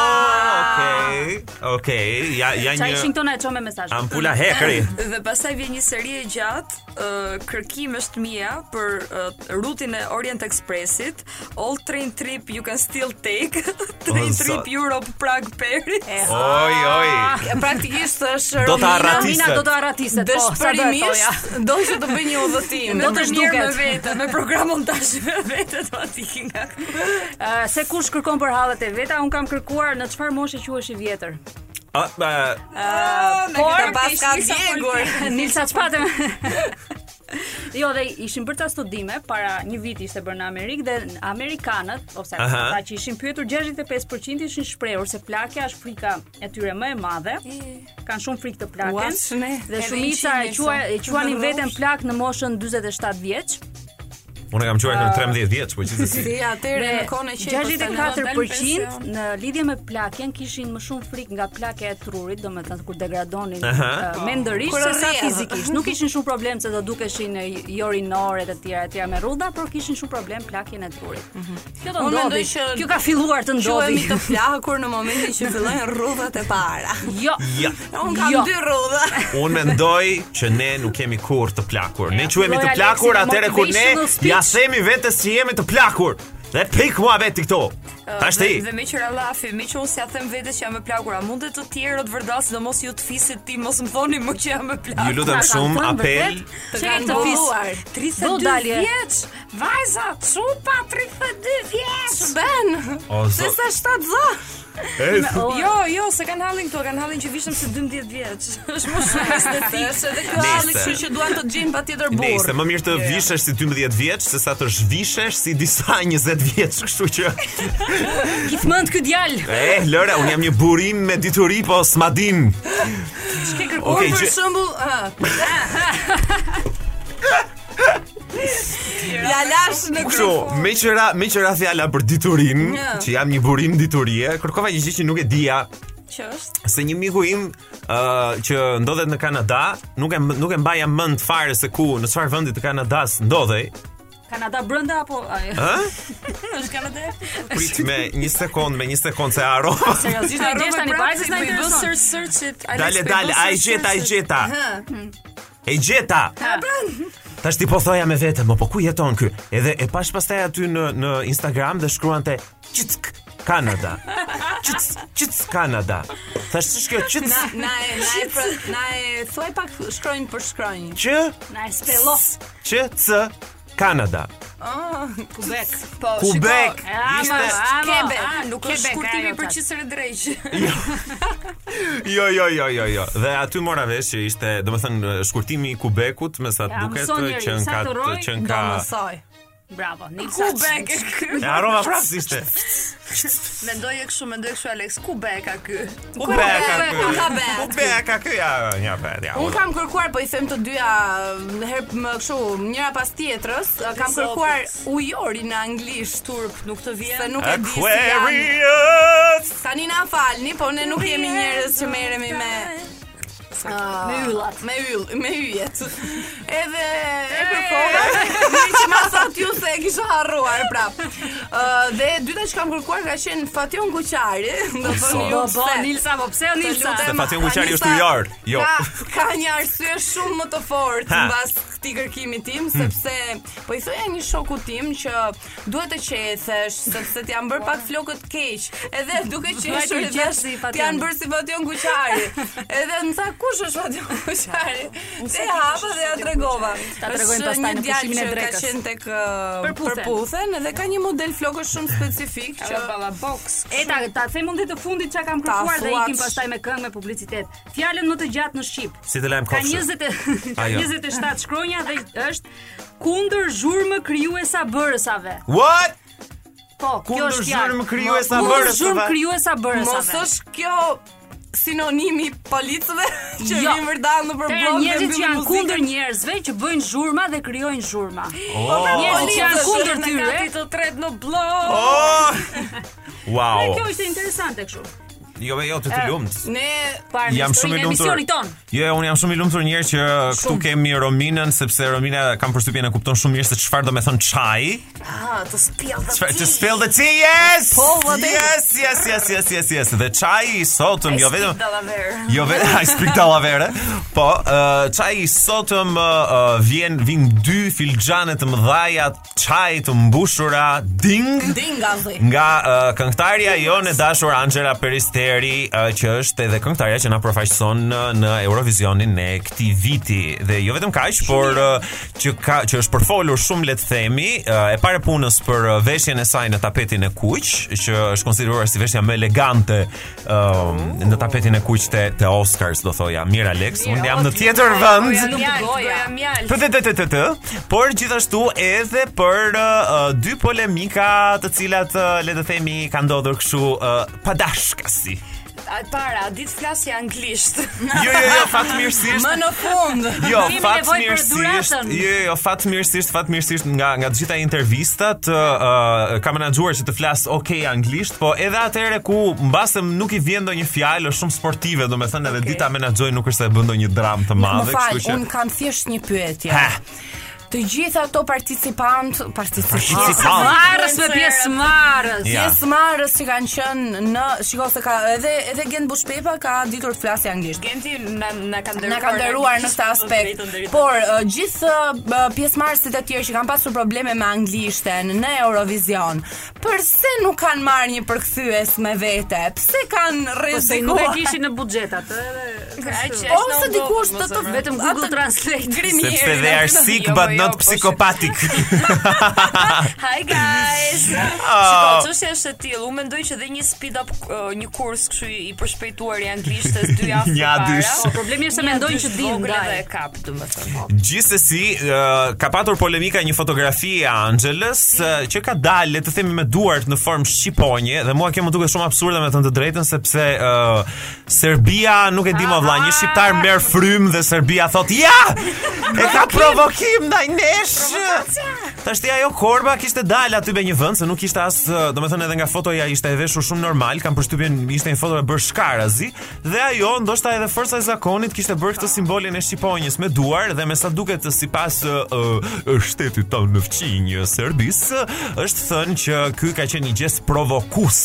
okej. Okej, ja ja Çaj një Washington e çon me mesazh. ampula hekri. Dhe pastaj vjen një seri e gjatë uh, kërkimesh të mia për uh, rutin e Orient Expressit, All Train Trip You Can Still Take, Train O, zot. Trip Europe Prague Paris. Oj, oj. Praktikisht është Do ta Romina arrat- Romina do të arratiset, po, sa do e thoja. Dëshpërimisht do që të bëj një udhëtim. Do të Të mirë me zhduket. vete, me program montazhi me vete do ati nga. Ë, Eh, se kush kërkon për hallet e veta, un kam kërkuar në çfarë moshe quhesh i vjetër. A, a, Por Por, pas ka ishte sa djegur. Nilsa çpate. Jo, dhe ishin bërë ta studime para një viti ishte bërë në Amerikë dhe amerikanët ose Aha. ata që ishin pyetur 65% ishin shprehur se plakja është frika e tyre më e madhe. Kanë shumë frikë të Ua, plakën. shne. Dhe Edhe shumica e ishin quaj- e njësë. quanin Ndërrosh. veten plak në moshën 47 vjeç. unë e kam quajtur në 13 vjeç, po gjithsesi. Si atëre Dhe në kohën e qepës. 64% në lidhje me plakjen kishin më shumë frikë nga plakja e trurit, domethënë kur degradonin Aha. uh, mendërisht Kur se sa rrjedh. fizikisht. Nuk kishin shumë problem se do dukeshin e jorinore të tjera e tjera me rrudha, por kishin shumë problem plakjen e trurit. Kjo do Unë ndodhi. mendoj që Kjo ka filluar të ndodhi. Quhemi të flakur në momentin që fillojnë rrudhat e para. Jo. Ja. Unë kam Jo. dy rrudha. Unë mendoj që ne nuk kemi kur të plakur. Ne quhemi të Lloj plakur Alexi, atëre kur ne motivational speech. ja themi vetes që jemi të plakur. Dhe pik mua vetë këto. Tash ti. Dhe, dhe me qëra lafi, me që unë si a them vetes që jam e plakura, mundet të tjerë të vërdasin, do mos ju të fisit ti, mos më thoni më që jam e plakura. Ju lutem shumë apel. Të kanë kanë ndodhuar. 32 dalje. vjeç, vajza, çupa 32 vjeç. Ben. O Se zot. sa shtat zë. Jo, jo, se kanë hallin këto, kanë hallin që vishëm se 12 vjeç. Është më shumë Është estetik. edhe kjo Nese. halli, kështu që duan të gjejnë patjetër Ne ishte burr. më mirë të vishesh si 12 vjeç se sa të zhvishesh si disa 20 vjeç, kështu që Gjithmonë ky djalë. e Lora, un jam një burim me dituri, po s'ma dim. Okej, Ç'ke kërkuar? Për gjë- shembull, ë. Lalash në Kështu, me qëra, me qëra fjala për diturin, që jam një burim diturie, kërkova një gjë që nuk e dija, Që është? se një miku im ë, që ndodhet në Kanada, nuk e nuk e mbaja mend fare se ku, në çfarë vendi të Kanadas ndodhej, Kanada brenda apo Ai, ë? Është Kanada. Prit me një sekond, me një sekond se harrova. Seriozisht na gjesh tani para se na intereson. pra, Search search-it. Dale, dale, ai gjeta, ai gjeta. E gjeta. Tash ti po thoja me vete, mo po ku jeton ky? Edhe e pash pastaj aty në në Instagram dhe shkruante Qitsk Kanada. Qitsk, Qitsk Kanada. Thash ç'është kjo Na Qitsk? na e na e pra- na e thuaj pak shkronjë për shkronjë. Q Na e spello. Q C Kanada. Kubek. Po, Kubek. shiko, Ama, Ishte ama, Kebe, a, nuk Quebec, është shkurtimi ajo për tash. qisër e drejqë. Jo, jo, jo, jo, jo. Dhe aty mora vesh që ishte, domethënë, shkurtimi i Kubekut, me sa Ja, duket mëson njeri, që në sa ka të roj, që në Do ka mësoj. Bravo. Nilsa. Kubek e ky. E harrova prapë si ishte. Mendoj e kështu, mendoj e kështu Alex, Kubek a ky? Kubek, Kubek, Kubek. Kubek. Kubek, Po ky ja, ja, pa, ja. Un kam kërkuar, po i them të dyja në herë më kështu, njëra pas tjetrës, kam kërkuar ujori në anglisht turp, nuk të vjen. Se nuk e di si janë. Aquarius. Tani na falni, po ne nuk jemi njerëz që merremi me me yllat, me Po, yll, me yjet. Edhe e kërkova, që ma sa ju se e kisha kisha harruar prap. Ë dhe e dyta që kam kërkuar ka qenë Fation Guqari, do të Po, thonë ju. Po, po, pse. Nilsa, po pse o Nilsa? lutem. Se Fation Guqari Anisa, është ujar. Jo. Ka, ka një arsye shumë më të fortë Ha. Hmm. mbas këtij kërkimi tim, sepse po i thoja një shoku tim që duhet të qethesh, sepse ti janë bërë pak flokët keq. Edhe duke qeshur Duhet të edhe qesh si Fation. ti janë bërë si Fation Guqari. Edhe më tha kush është Fation Guqari? Te hapa dhe ja tregova. Ta tregojmë Është pastaj një në djalë pushimin e që Ka drekës. qenë tek uh, Përputhen. përputhen edhe ka një model flokësh shumë specifik që balla box. E ta ta them unë ditë të fundit çka kam kërkuar dhe thuaç. ikim pastaj me këngë me publicitet. Fjalën më të gjatë në shqip. Si të lajmë Ka kofshë. 20 e- ka Ajo. 27 shkronja dhe është kundër zhurmë krijuesa bërësave. What? Po, kjo Kundër është fjalë. zhurmë krijuesa Kundër bërësave. Zhurmë krijuesa Mos bërësave. është kjo sinonimi policëve që Jo. jo. vinë vërdall në Të përbllog njerëzit që janë kundër njerëzve që bëjnë zhurma dhe krijojnë zhurma. Oh. Njerëzit që janë kundër Në tyre. kati të tret në blog. Oh! Wow. Kjo është Eh. interesante kështu. Jo, jo, të të lumt. Ne Para Jam shumë i historinë e lumtur. emisionit ton. Jo, unë jam shumë i lumtur njëherë që këtu kemi Rominën sepse Romina kam përshtypjen e kupton shumë mirë se çfarë do të thon çaj. ah, të spjell dhe Çfarë to spill the tea. Yes. Po, vërtet. yes, yes, yes, yes, yes, yes. Dhe çaji i sotëm jo vetëm dallaver. Jo vetë, I speak Dallavere. Po, uh, çaji i sotëm uh, vjen vin dy filxhane të mëdhaja, çaj të mbushura, ding Dinga dhe. nga uh, këngëtarja jonë e dashur Angela Peristeri, uh, që është edhe këngëtarja që na përfaqëson në, në Eurovisionin e këtij viti. Dhe jo vetëm kaq, por uh, që ka që është përfolur shumë le të themi, uh, e parë punës për uh, veshjen e saj në tapetin e kuq, që është konsideruar si veshja më elegante um, në tapetin e kuq të, të Oscars, do thoja. Mirë Alex, unë jam në tjetër vend. Nuk goja, Mjaltë, goja. mjaltë. Për të të të të të, por gjithashtu edhe për uh, dy polemika të cilat, uh, le të themi, ka ndodhur kështu uh, padashkasi. A para, ditë flasja anglisht. Jo, jo, jo, fatmirësisht. Më në fund. Jo, Kemi nevojë për fatmirësisht. duratën. Jo, jo, fatmirësisht, fatmirësisht nga nga të gjitha intervistat uh, uh, ka menaxhuar që të flas okay anglisht, po edhe atëherë ku mbasëm nuk i vjen ndonjë fjalë është shumë sportive, domethënë edhe dita menaxhoi nuk është se e bën ndonjë dramë të Më madhe, fal, kështu që un kam thjesht një pyetje. Ha. Të gjitha ato participant, Participantë. participantë, Ah. Marrës me pjesë marrës. Ja. pjesëmarrës që kanë qenë në, shiko se ka edhe edhe Gent Bushpepa ka ditur të flasë anglisht. Genti na na ka ndërruar. na kanë nderuar në këtë aspekt. Por uh, gjithë uh, pjesëmarrësit e tjerë që kanë pasur probleme me anglishten në Eurovision, pse nuk kanë marrë një përkthyes me vete? Pse kanë Po Se nuk e rrezikuar? kishin në buxhet atë. edhe- ai që Po është se dikush të të Vetëm Google Translate. grimierin. sepse they are sick Jo, but po, jo, not po, shit. psychopathic. Hi guys. Ah. Shikoj, çështja është e tillë. Unë mendoj që dhe një speed up uh, një kurs kështu i përshpejtuar i anglishtes dy javë Një a dysh. Po, problemi është se mendojnë që din, ndaj. dhe e kap, domethënë. Gjithsesi, ë, ka patur polemika një fotografi e Angelës ë, që ka dalë, le të themi me duart në formë shqiponje dhe mua kjo më duket shumë absurde me të të drejtën sepse ë, Serbia nuk e di më vëlla, një shqiptar merr frym dhe Serbia thot ja! E ka provokim ndaj nesh. Tashti ajo korba kishte dalë aty me një vend se nuk ishte as, ë, domethënë edhe nga fotoja ishte e veshur shumë normal, kam përshtypjen ishte një foto e bërë shkarazi dhe ajo ndoshta edhe forca e zakonit kishte bërë këtë simbolin e shqiponjës me duar dhe me sa duket sipas ë, ë, shtetit tonë në fqinjë serbisë është thënë që ky ka qenë një gest provokus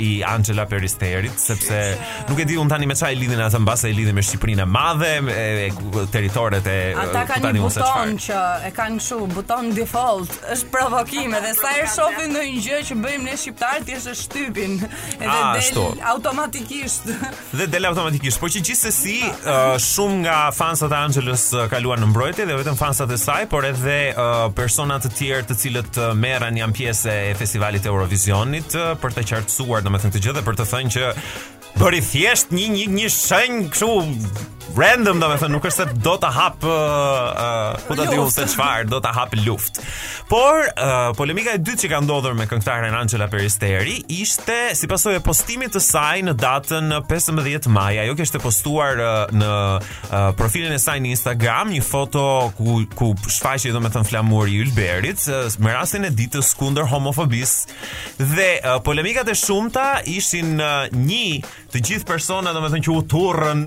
i Angela Peristerit sepse nuk e di un tani me çfarë e lidhin atë mbas e lidhin me Shqipërinë e madhe, me e, e, teritoret e Ata e, ku kanë një mos e buton çfarë. që e kanë kështu, buton default, është provokim edhe sa herë shohin ndonjë gjë që bëjmë ne shqiptarët thjesht e shtypin. Edhe Ah, ashtu. del automatikisht. Dhe del automatikisht. Po që gjithsesi, uh, shumë nga fansat e Angelës uh, kaluan në mbrojtje dhe vetëm fansat e saj, por edhe uh, persona të tjerë të cilët uh, merran janë pjesë e festivalit të Eurovisionit uh, për të qartësuar domethënë këtë gjë dhe për të thënë që bëri thjesht një një një shenjë kështu random domethënë nuk është se do ta hap uh, uh, ku ta diu se çfarë, do ta hap luftë. Por uh, polemika e dytë që ka ndodhur me këngëtaren Angela Peristeri ishte si pasojë e postimit të saj në datën 15 maj. Ajo kishte postuar uh, në uh, profilin e saj në Instagram një foto ku ku shfaqej domethënë flamuri i Ylberit uh, me rastin e ditës kundër homofobisë dhe uh, polemikat e shumta ishin uh, një të gjithë persona domethënë që u turrën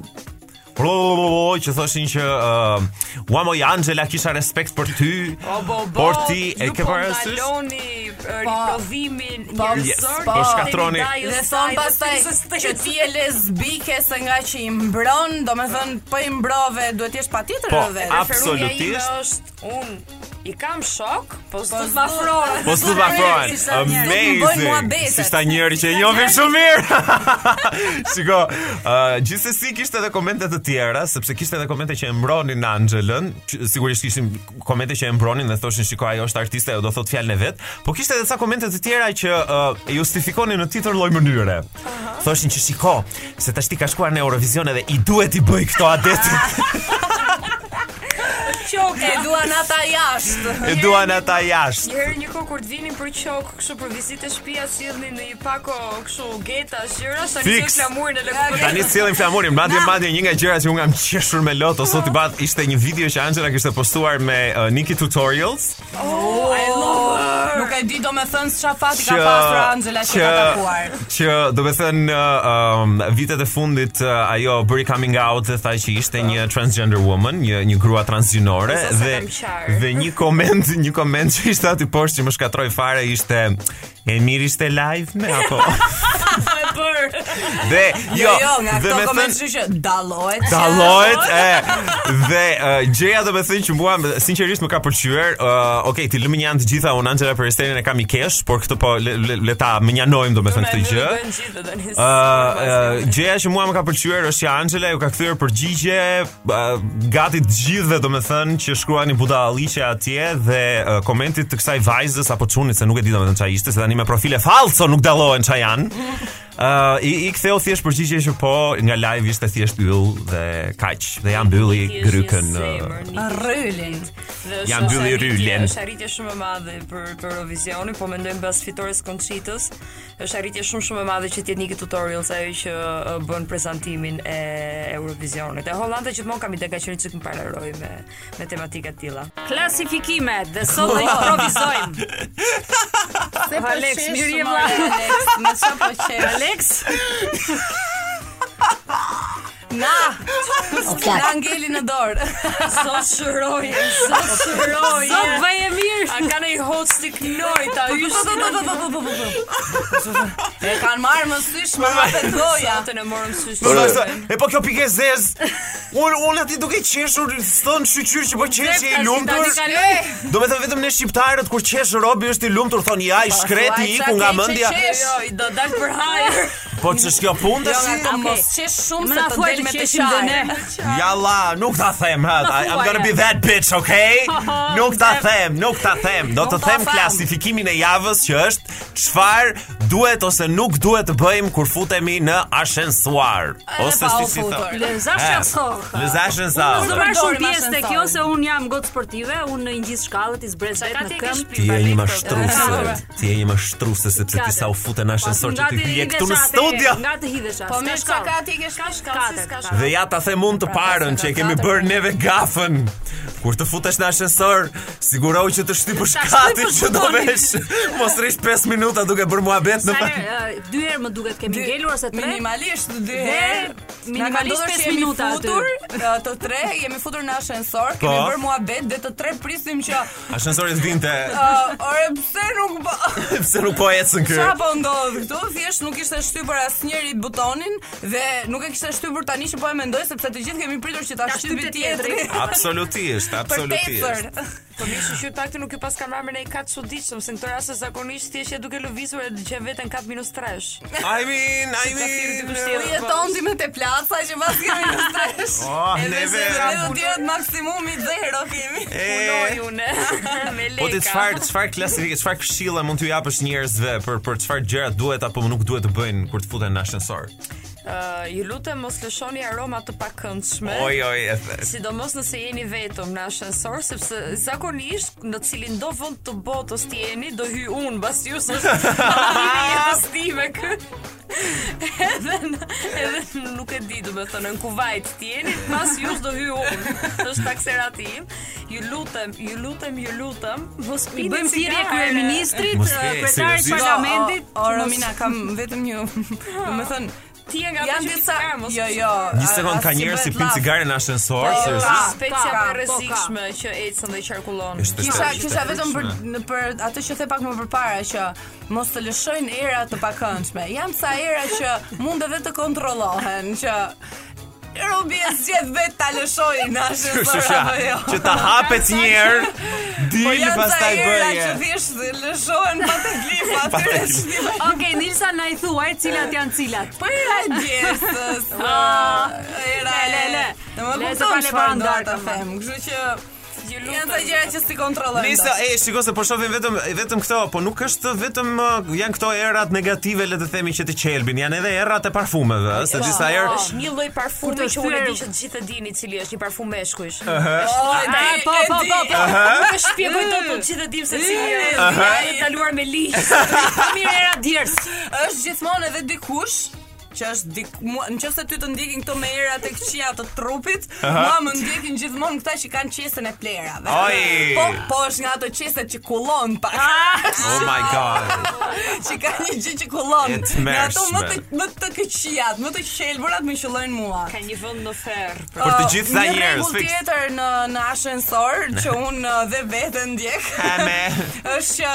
pro që thoshin që uh, ua moj Angela kisha respekt për ty. O bo po bo. por ti e ke parasysh? Ndaloni riprodhimin Po, njerëzor. yes, po shkatroni. Dhe thon pastaj që ti je lesbike se nga që i mbron, domethën po i mbrove, duhet të jesh patjetër Po, vetë. a- absolutisht. është un i kam shok, po s'do të s'do- bafrohet. Po s'u bafrohen. Si sa njerë, nuk bëjnë Amazing. muhabetet. Si sta njëri që e njohim shumë mirë. Shiko, uh, gjithsesi kishte edhe komente të tjera, sepse kishte edhe komente që e mbronin Angelën, që sigurisht kishin komente që e mbronin dhe thoshin shiko ajo është artiste, ajo do thot fjalën e vet, po kishte edhe ca komente të tjera që uh, e justifikonin në tjetër lloj mënyre. Thoshin që shiko, se tash ti ka shkuar në Eurovision edhe i duhet i bëj këto adetit. Po Qoke, e duan ata jashtë. e duan ata jashtë. Një herë një kohë kur të vinin për qok, kështu për vizitë shtëpia sillnin në një pako kështu geta, gjëra, sa Fix. kishte flamurin e lëkurës. Tani sillim flamurin, madje madje një nga gjërat që unë kam qeshur me Loto sot i bat ishte një video që Angela kishte postuar me uh, Nikki Tutorials Nuk e di domethën s'ça fati ka që pasur Angela që ka takuar. që do të thënë uh, um, vitet e fundit uh, ajo bëri coming out dhe tha që ishte një transgender woman, një një grua transgjinore Po, sa sa dhe kam qarë. dhe një koment, një koment që ishte aty poshtë që më shkatroi fare ishte e mirë ishte live me apo dhe jo, Jo, jo, nga dhe këto me komente thënë- kështu që dallohet. Dallohet e dhe uh, gjëja do të thënë që mua sinqerisht më ka pëlqyer. Uh, Okej, ti lëmë një janë të gjitha unë Angela Peresterin e kam i kesh, por këtë po le, le, le ta më njanojmë domethënë këtë gjë. Ë, Ë, ë, gjëja Ah, që mua më ka pëlqyer është që Angela ju ka kthyer përgjigje uh, gati të gjithëve domethënë që shkruani budalliqe atje dhe uh, komentit të kësaj vajzës apo çunit se nuk e di domethënë çfarë ishte, se tani me profile falso nuk dallohen çfarë janë. Uh, i, i ktheu thjesht përgjigje që po nga live ishte thjesht yll dhe kaq dhe janë mbylli grykën. ah, ë. Rrylin. Janë mbylli rylin. Është arritje shumë e madhe për për Eurovisionin, po mendoj mbas fitores Konçitës, është arritje shumë shumë e madhe që të jetë Niki Tutorials ajo që ë, bën prezantimin e Eurovisionit. E Hollanda gjithmonë kam ide ka qenë çik më pararoj me me tematika të tilla. Klasifikimet dhe sot do improvizojmë. Alex, mirë je vlla. Me çfarë po qesh? Alex, Na. Na ngeli në dorë. Zot shëroje, zot shëroje. zot bëje mirë. A ka në i hotë stik nojta, Po, po, po, po, po, po, po, po, po. E kanë marrë më sysh më hapet goja. Të në morëm sysh. Po thashë, e po kjo pikë e zez. Un un aty duke qeshur thon shqyr që po qesh je i lumtur. Do me thënë vetëm ne shqiptarët kur qesh robi është i lumtur thon ja i shkreti iku thua, qa nga Po, ke mendja. që qesh? Jo, i do dalë për hajër. Po ç'është kjo punë Jo, tash? nga ta Okej. mos qesh shumë Më se na të thuaj del të me të qeshim dhe ne. qajë. Jalla, nuk ta them, ha. I- I'm gonna be that bitch, okay? Nuk ta them, nuk ta them. Do të Oh, Nuk ta them them. klasifikimin e javës që është çfarë duhet ose nuk duhet të bëjmë kur futemi në ashensuar. Ose pa u si si futur. thonë. Lëzash Eh, asor. Lëzashën sa. Unë do Zot. marr shumë Përdorim pjesë te ashensorin. kjo se un jam gotë sportive, un në një gjithë shkallët i zbrez vetë në këmbë. Ti je një mashtruese, ti je një mashtruese sepse ti sa u futen në ashensor që Po, Nga ti të hije këtu në hidhesh atë, studio. Nga të hidhesh atë. Po mirë, çka ka ti ke shkash Katër, katër. Dhe ja ta them unë të parën që e kemi bërë neve gafën. Kur të futesh në ashensor, siguro që të shtypësh Ta katin shtypësh që do butonin. vesh. Mos rish 5 minuta duke bërë muhabet në Sa herë, ë, dy herë më duket kemi ngelur ose tre? Minimalisht dy Dhe herë. minimalisht pesë minuta aty. aty. Të tre jemi futur në ashensor, Po. kemi bërë muhabet dhe të tre prisim që Ashensori të vinte, uh, ore pse nuk bë pse nuk po ecën kë. Qa po ndodh këtu? Thjesht nuk ishte shtypur asnjëri butonin dhe nuk e kishte shtypur tani që po e mendoj sepse të gjithë kemi pritur që ta Ta shtypi shtypte tjetri. tjetri. Absolutisht, Për absolutisht. tepër. Po mirë që qytë pak të nuk ju pas kamerën e i katë çuditshëm, se në këtë rast zakonisht ti je duke lëvizur e dëgjoj veten 4 minus 3. I mean, I mean. U jeton ti me te placa që pas kemi në stresh. Oh, neve. Ne do të jetë maksimumi zero kemi. E, Punoj unë. Me leka. Po ti çfarë çfarë klasifikë, çfarë këshilla mund t'ju japësh njerëzve për për çfarë gjëra duhet apo nuk duhet të bëjnë kur të futen në ashensor? Ë, ju lutem mos lëshoni aroma të pakëndshme. Oj oj, e the. Sidomos nëse jeni vetëm në ashensor, sepse zakonisht në cilin do vënd të botës të jeni, do hy unë mbas ju së jetës time kë. Edhe në, edhe në- nuk e di, do të thonë në Kuwait të jeni, mbas ju do hy unë. Është takserati im. Ju lutem, ju lutem, ju lutem, mos I pini bëjmë thirrje cigare. kryeministrit, Mos ë, ke, kryetarit seriozisht? parlamentit. O, o, o Romina kam vetëm një, domethën ti e nga Janë disa jo jo. Një sekond ka njerëz si pin cigare në ascensor, Po, seriozisht. ka. Specia më Ka, po, e rrezikshme që ecën dhe qarkullon. Është Kisha është- kisha vetëm për është- në- për atë që the pak më përpara që mos të lëshojnë era të pakëndshme. Janë ca era që mund edhe të kontrollohen që Robi e zgjedh vetë ta lëshojë në Kështu ascensor që apo jo. që ta hapet një herë, Po dil janë ca pastaj era bëje. që thjesht lëshohen pa të glif atyre teklif. çlive. Okej, Nilsa na i thuaj cilat janë cilat. Po era e djersës, Ah, era e le, le. Në më Le, se kupton pale çfarë do parandar ta tamam. them, kështu që janë ca gjëra që si kontrollojnë. Nisa, e shiko se po shohim vetëm vetëm këto, po nuk është vetëm uh, janë këto erat negative le të themi që të qelbin, janë edhe erat e parfumeve, ëh, se Po, disa herë Është një lloj Kur parfumi të që unë e di thyer- që të gjithë e dini cili është, një parfum meshkujsh. e, Ah, po, e po, di. po, po. Nuk e shpjegoj dot, po të gjithë e dim se cili është. Ai ndaluar me ligj. Po mirë era djers. është gjithmonë edhe dikush që është dik, mua, në qëfë se ty të ndjekin këto me era të këqia të trupit, mua më ndjekin gjithmonë këta që kanë qesën e plerave. Oj! Po, po është nga ato qeset që kullon pak, Ah, Oh my god. që ka një gjë që kullon. E Nga ato më të, tmerrshme. më të këqijat, më të qelburat më qëllojnë mua. Ka një vend në ferr. po. Për të Uh, gjithë tha një njerëz, rregull fix. tjetër në në ascensor që unë uh, dhe vetë ndjek. Ame. është që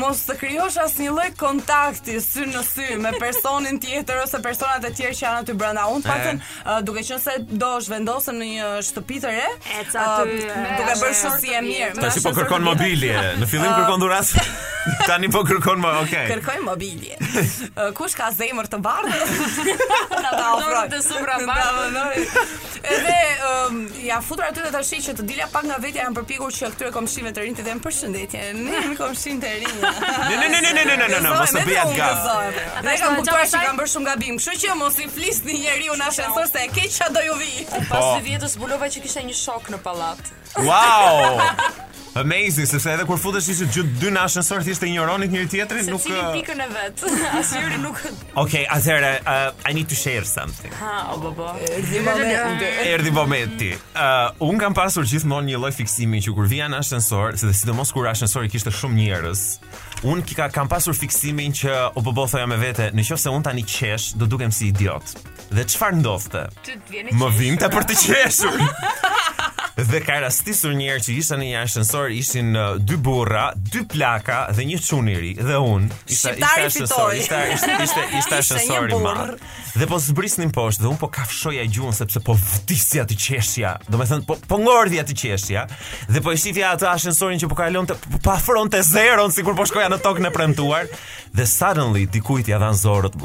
mos të krijosh asnjë lloj kontakti sy në sy me personin tjetër ose personat e tjerë që janë aty brenda. Unë paktën uh, duke qenë se do zhvendosem në një shtëpi të re, Ec aty, me duke bërë ascensor shoqësi e të mirë. me Tash po ascensor kërkon të mirë. mobilje. Në Ah. fillim kërkon duras. Tani po kërkon më, okay. Kërkoj mobilje. Ë, Kush ka zemër të bardhë? Na ta ofroj. të zemra Na ta bardhë. vënoj. Edhe um, ja futur aty dhe tash që të dilja pak nga vetja janë përpikur që këtyre komshive të rinj të them përshëndetje. Ne jemi komshin të rinj. Ne ne ne ne ne ne ne ne, mos të bëj atë gaf. Ata shkojnë kanë kuptuar gjatë që asaj? kanë bërë shumë gabim, kështu që mos i flisni njeriu në ascensor se e keq ç'a do ju vi. Pas Po. dy vjetës zbulova që kisha një shok në pallat. Wow. Amazing, sepse edhe kur futesh ishte gjithë dy në ascensor thjesht e ignoronit njëri tjetrin, Se nuk eh, cili pikën e jo, vet. Asnjëri nuk Okay, atëherë uh, I need to share something. Ha, o bobo. Erdi momenti. Uh, un kam pasur gjithmonë një lloj fiksimi që kur vija në ascensor, se dhe sidomos kur ascensori kishte shumë njerëz, un ka, kam pasur fiksimin që o po po thoja me vete, në qoftë se un tani qesh, do dukem si idiot. Dhe çfarë ndodhte? Ty të vjen e Më qeshur. vinte për të qeshur. Dhe ka rastisur një herë që isha në një ascensor, ishin uh, dy burra, dy plaka dhe një çun i ri dhe un. Isha Shqiptari ascensor, fitoi. ishte ishte ishte, ishte një ascensor i burr. madh. Dhe po zbrisnin poshtë dhe un po kafshoja gjuhën sepse po vdisja të qeshja. Do me thënë po, po ngordhja të qeshja dhe po e shifja atë ascensorin që po kalonte po pa fronte zeron sikur po shkoja në tokën e premtuar dhe suddenly dikujt ja dhan zorët.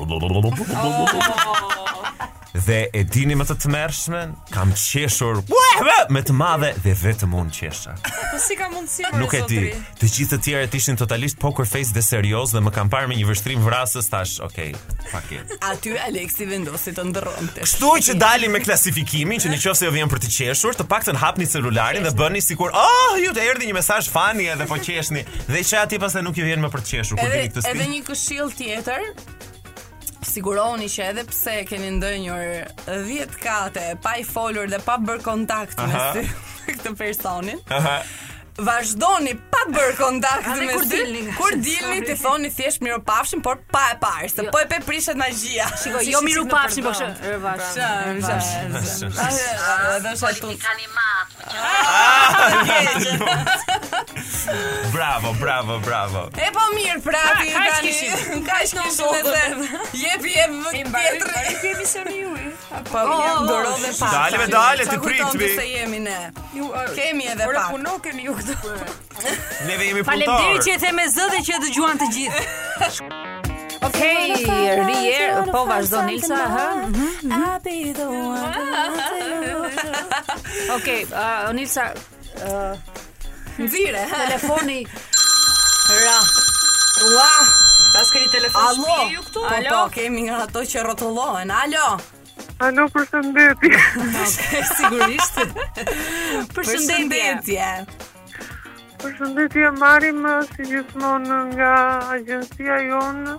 Dhe e dini më të tmerrshmen, kam qeshur me të madhe dhe vetëm unë qesha. Po si ka mundësi? Nuk e di. Të gjithë të tjerët ishin totalisht poker face dhe serioz dhe më kanë parë me një vështrim vrasës tash, okay, fuck it. Aty Aleksi vendosi të ndërronte. Kështu që dalim me klasifikimin që nëse ju vjen për të qeshur, të paktën hapni celularin dhe bëni sikur, "Oh, ju të erdhi një mesazh fani edhe po qeshni." Dhe që atje pastaj nuk ju vjen më për të qeshur kur vini Edhe këtë edhe stil. një këshill tjetër, sigurohuni që edhe pse keni ndonjër 10 kate pa i folur dhe pa bërë kontakt me Aha. sy me këtë personin, Aha. vazhdoni pa bërë kontakt Edhe me kur sy. dilni nga kur ascensori. dilni të thoni thjesht miropafshim, por pa e parë, se po e peprishet magjia. Shiko, Si jo që miru si në pafshin po përdor. kështu. Rëvash. Shëm, shëm, shëm. Edhe është atun. Bravo, bravo, bravo. E po mirë prapi Ka- kaq tani. kishim. Kaq kishim edhe. Jepi jep tjetri. Ky emisioni eh? juaj. Po, Oh, jep doro dhe pak. Dale, me dale, ti Sa pritmi. kujton se jemi ne. Ju ë, Kemi edhe Ora pak. puno keni ju këtu. Neve jemi punëtor. Faleminderit që e the me zë dhe që e dëgjuan të gjithë. Okej, rier, po vazhdo Nilsa, ha? I'll be the one. Okej, uh, Nilsa, uh, Nxire. telefoni ra. Ua, Pas keni telefon Alo. shtëpi ju këtu? Po, po, kemi nga ato që rrotullohen. Alo. Alo, përshëndetje. sigurisht. Përshëndetje. Përshëndetje. Përshëndetje marim eh, si gjithmonë nga agjencia jonë.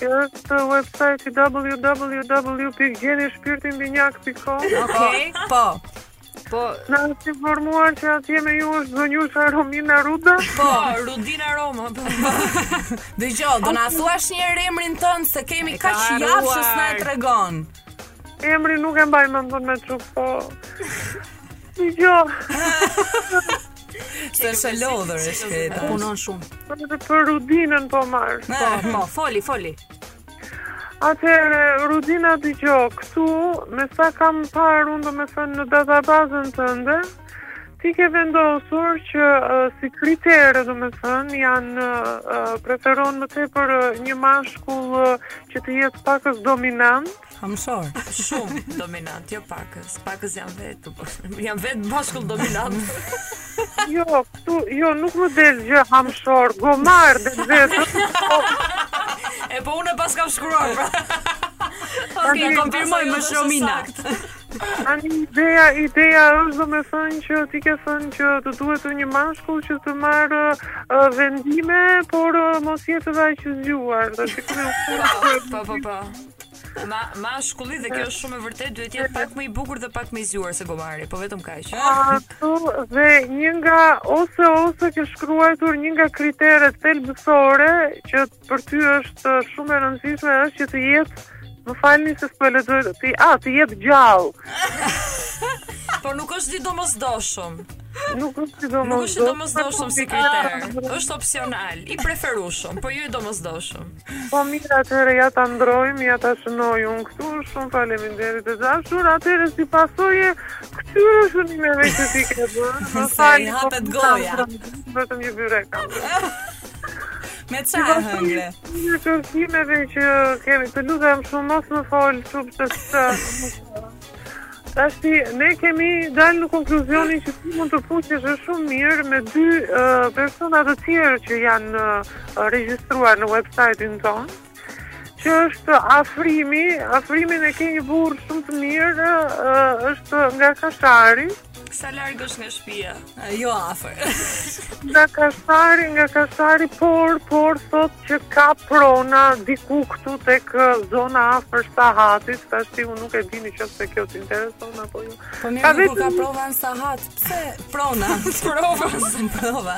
Është website www.gjenishpirtinbinjak.com Okej. Po. Po, Na është informuar që atje me ju është zonjusha Romina Ruda. Po, Rudina Roma. po. Dëgjoj, do na thuash një herë emrin tënd se kemi kaq jafshës na e tregon. Emri nuk e mbaj më thonë me çuk, po... Jo, Se është e lodhur e shkreta. punon shumë. edhe për Rudinën po marr. Po, po, foli, foli. Atëherë, Rudina dëgjo, këtu, me sa kam parë unë do me thënë në databazën tënde, ti ke vendosur që ë, si kritere do me thënë janë ë, ë, preferon më tepër ë, një mashkull ë, që të jetë pakës dominant, Hamshor. Shumë dominant, jo pakës. Pakës janë vetë, po. Janë vetë bashkull dominant. Jo, këtu, jo, nuk më del gjë hamshor, gomar dhe vetëm. E po unë e pas kam shkruar, pra. Okej, konfirmoj më Pastaj, Romina. është Ani ideja, ideja është do me thënë që ti ke thënë që të duhet të një mashkull që të marrë ë, vendime, por ë, mos jetë edhe aq i zgjuar. Dhe të saktë. Po, po, po. Ma, ma shkulli dhe kjo është shumë e vërtet, duhet jetë pak më i bukur dhe pak më i zgjuar se gomari, po vetëm kaq. Ato dhe një nga ose ose ke shkruajtur një nga kriteret thelbësore që për ty është shumë e rëndësishme është që të jetë Më falni se s'po e lexoj. Ti a ti jetë gjallë. Por Po nuk është sidomosdoshëm. Nuk është sidomosdoshme. Nuk është domosdoshëm si kriter. Është opsional, i preferueshëm, po jo i domosdoshëm. Po mirë, atëherë ja ta ndrojmë, ja ta shënoj unë këtu, shumë faleminderit të dashur. Atëherë si pasoje këtyre shënimeve që ti ke bërë, më Se i falni, po hapet nuk goja. kam frëmë, Vetëm një byre kam. Me çfarë hëngre? Një shënimeve që kemi të lutem shumë mos më fol çup të të. Tashti, ne kemi dalë në konkluzionin që ti mund të fuqesh është shumë mirë me dy uh, persona të tjerë që janë uh, regjistruar në website-in tonë që është afrimi, afrimin e ke një burrë shumë të mirë, ë, është nga Kashari, Sa larg është nga shtëpia? Jo afër. nga Kashari, nga Kashari, por, por, thot që ka prona diku këtu tek ë, zona afër Sahatit, tash ti unë nuk e di nëse se kjo t'intereson apo jo. Po Ka mirë, dhe kur vetëm- ka prova në sahat, pse prona? prova, prova.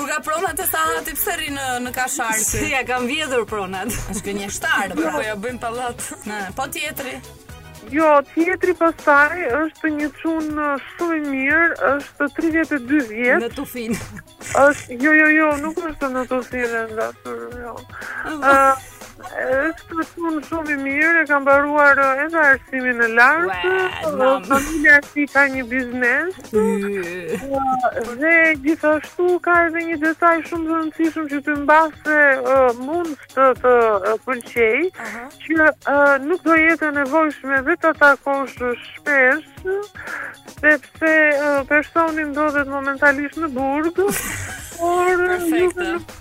Kur ka prova të sahati, pse rri në në kashar Si ky? ja kam vjedhur pronat. Është gënjeshtar, Po pra. ja bëjmë pallat. Na, po tjetri. Jo, tjetri pastaj është një çun ë, shumë i mirë, është 32 vjeç. Në tufin. është, jo, jo, jo, nuk është në të sire, nda, jo. Ë, është të shumë shumë i mirë, e kam baruar ë, edhe arsimin e lartë, Ua, ë, mam. familja e tij ka një biznes, ë, dhe gjithashtu ka edhe një detaj shumë të rëndësishëm që të mbase ë, mund të të ë, pëlqej, që ë, nuk do jetë e nevojshme dhe të takosh shpesh, sepse ë, personi ndodhet momentalisht në burg, por nuk, Perfekte. nuk,